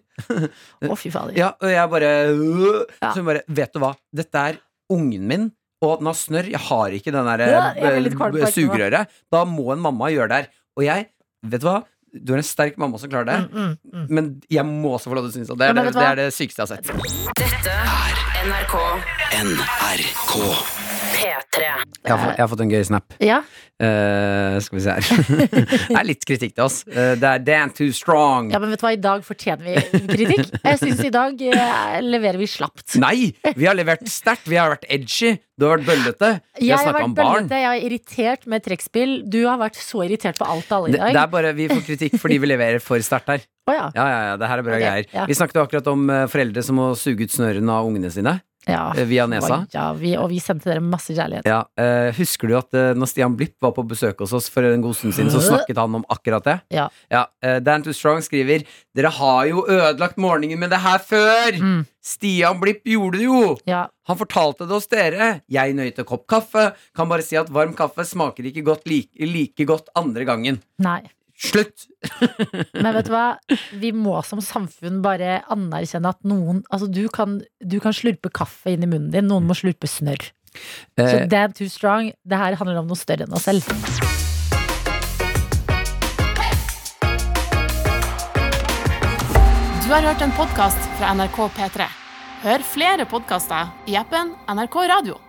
Å, fy fader. Ja, og jeg bare øh, Ja. Så hun bare, vet du hva, dette er ungen min Og at den har snørr, jeg har ikke den der Ja, jeg blir litt kvalm på eh, ekte, sugerøret Da må en mamma gjøre det her Og jeg, vet du hva, du er en sterk mamma som klarer det Mm, mm, mm. Men jeg må også få lov til å synes at det Ja, er, men det, vet du det hva? er det sykeste jeg har sett NRK NRK. P3. Jeg har, fått- jeg har fått en gøy snap. Ja. Eh, skal vi se her. det er litt kritikk til oss. Eh, det er 'Dan too strong'. ja, men vet du hva, i dag fortjener vi kritikk. Jeg syns i dag eh, leverer vi slapt. Nei! Vi har levert sterkt. Vi har vært edgy. Du har vært bøllete. Vi Jeg har har snakka vært om barn. bøllete, jeg er irritert med trekkspill. Du har vært så irritert på alt og alle Det, i det er dag. bare Vi får kritikk fordi vi leverer for sterkt her. Å ja. Ja, ja, ja, det her er bra Ok, greier. ja. Vi snakket jo akkurat om eh, foreldre som må suge ut snørene av ungene sine ja. eh, via nesa. Å Ja, vi, og vi sendte dere masse kjærlighet. Ja, eh, Husker du at eh, når Stian Blipp var på besøk hos oss for en god stund siden, så snakket han om akkurat det? Ja. eh, Dan Too Strong skriver Dere har jo ødelagt morgenen med det her før! Mm. Stian Blipp gjorde det jo! Ja. Han fortalte det hos dere. Jeg nøyte en kopp kaffe. Kan bare si at varm kaffe smaker ikke godt like, like godt andre gangen. Nei. Slutt! Men vet du hva? Vi må som samfunn bare anerkjenne at noen Altså, du kan, du kan slurpe kaffe inn i munnen din, noen må slurpe snørr. Så Eh, damn too strong. Det her handler om noe større enn oss selv. Du har hørt en podkast fra NRK P3. Hør flere podkaster i appen NRK Radio.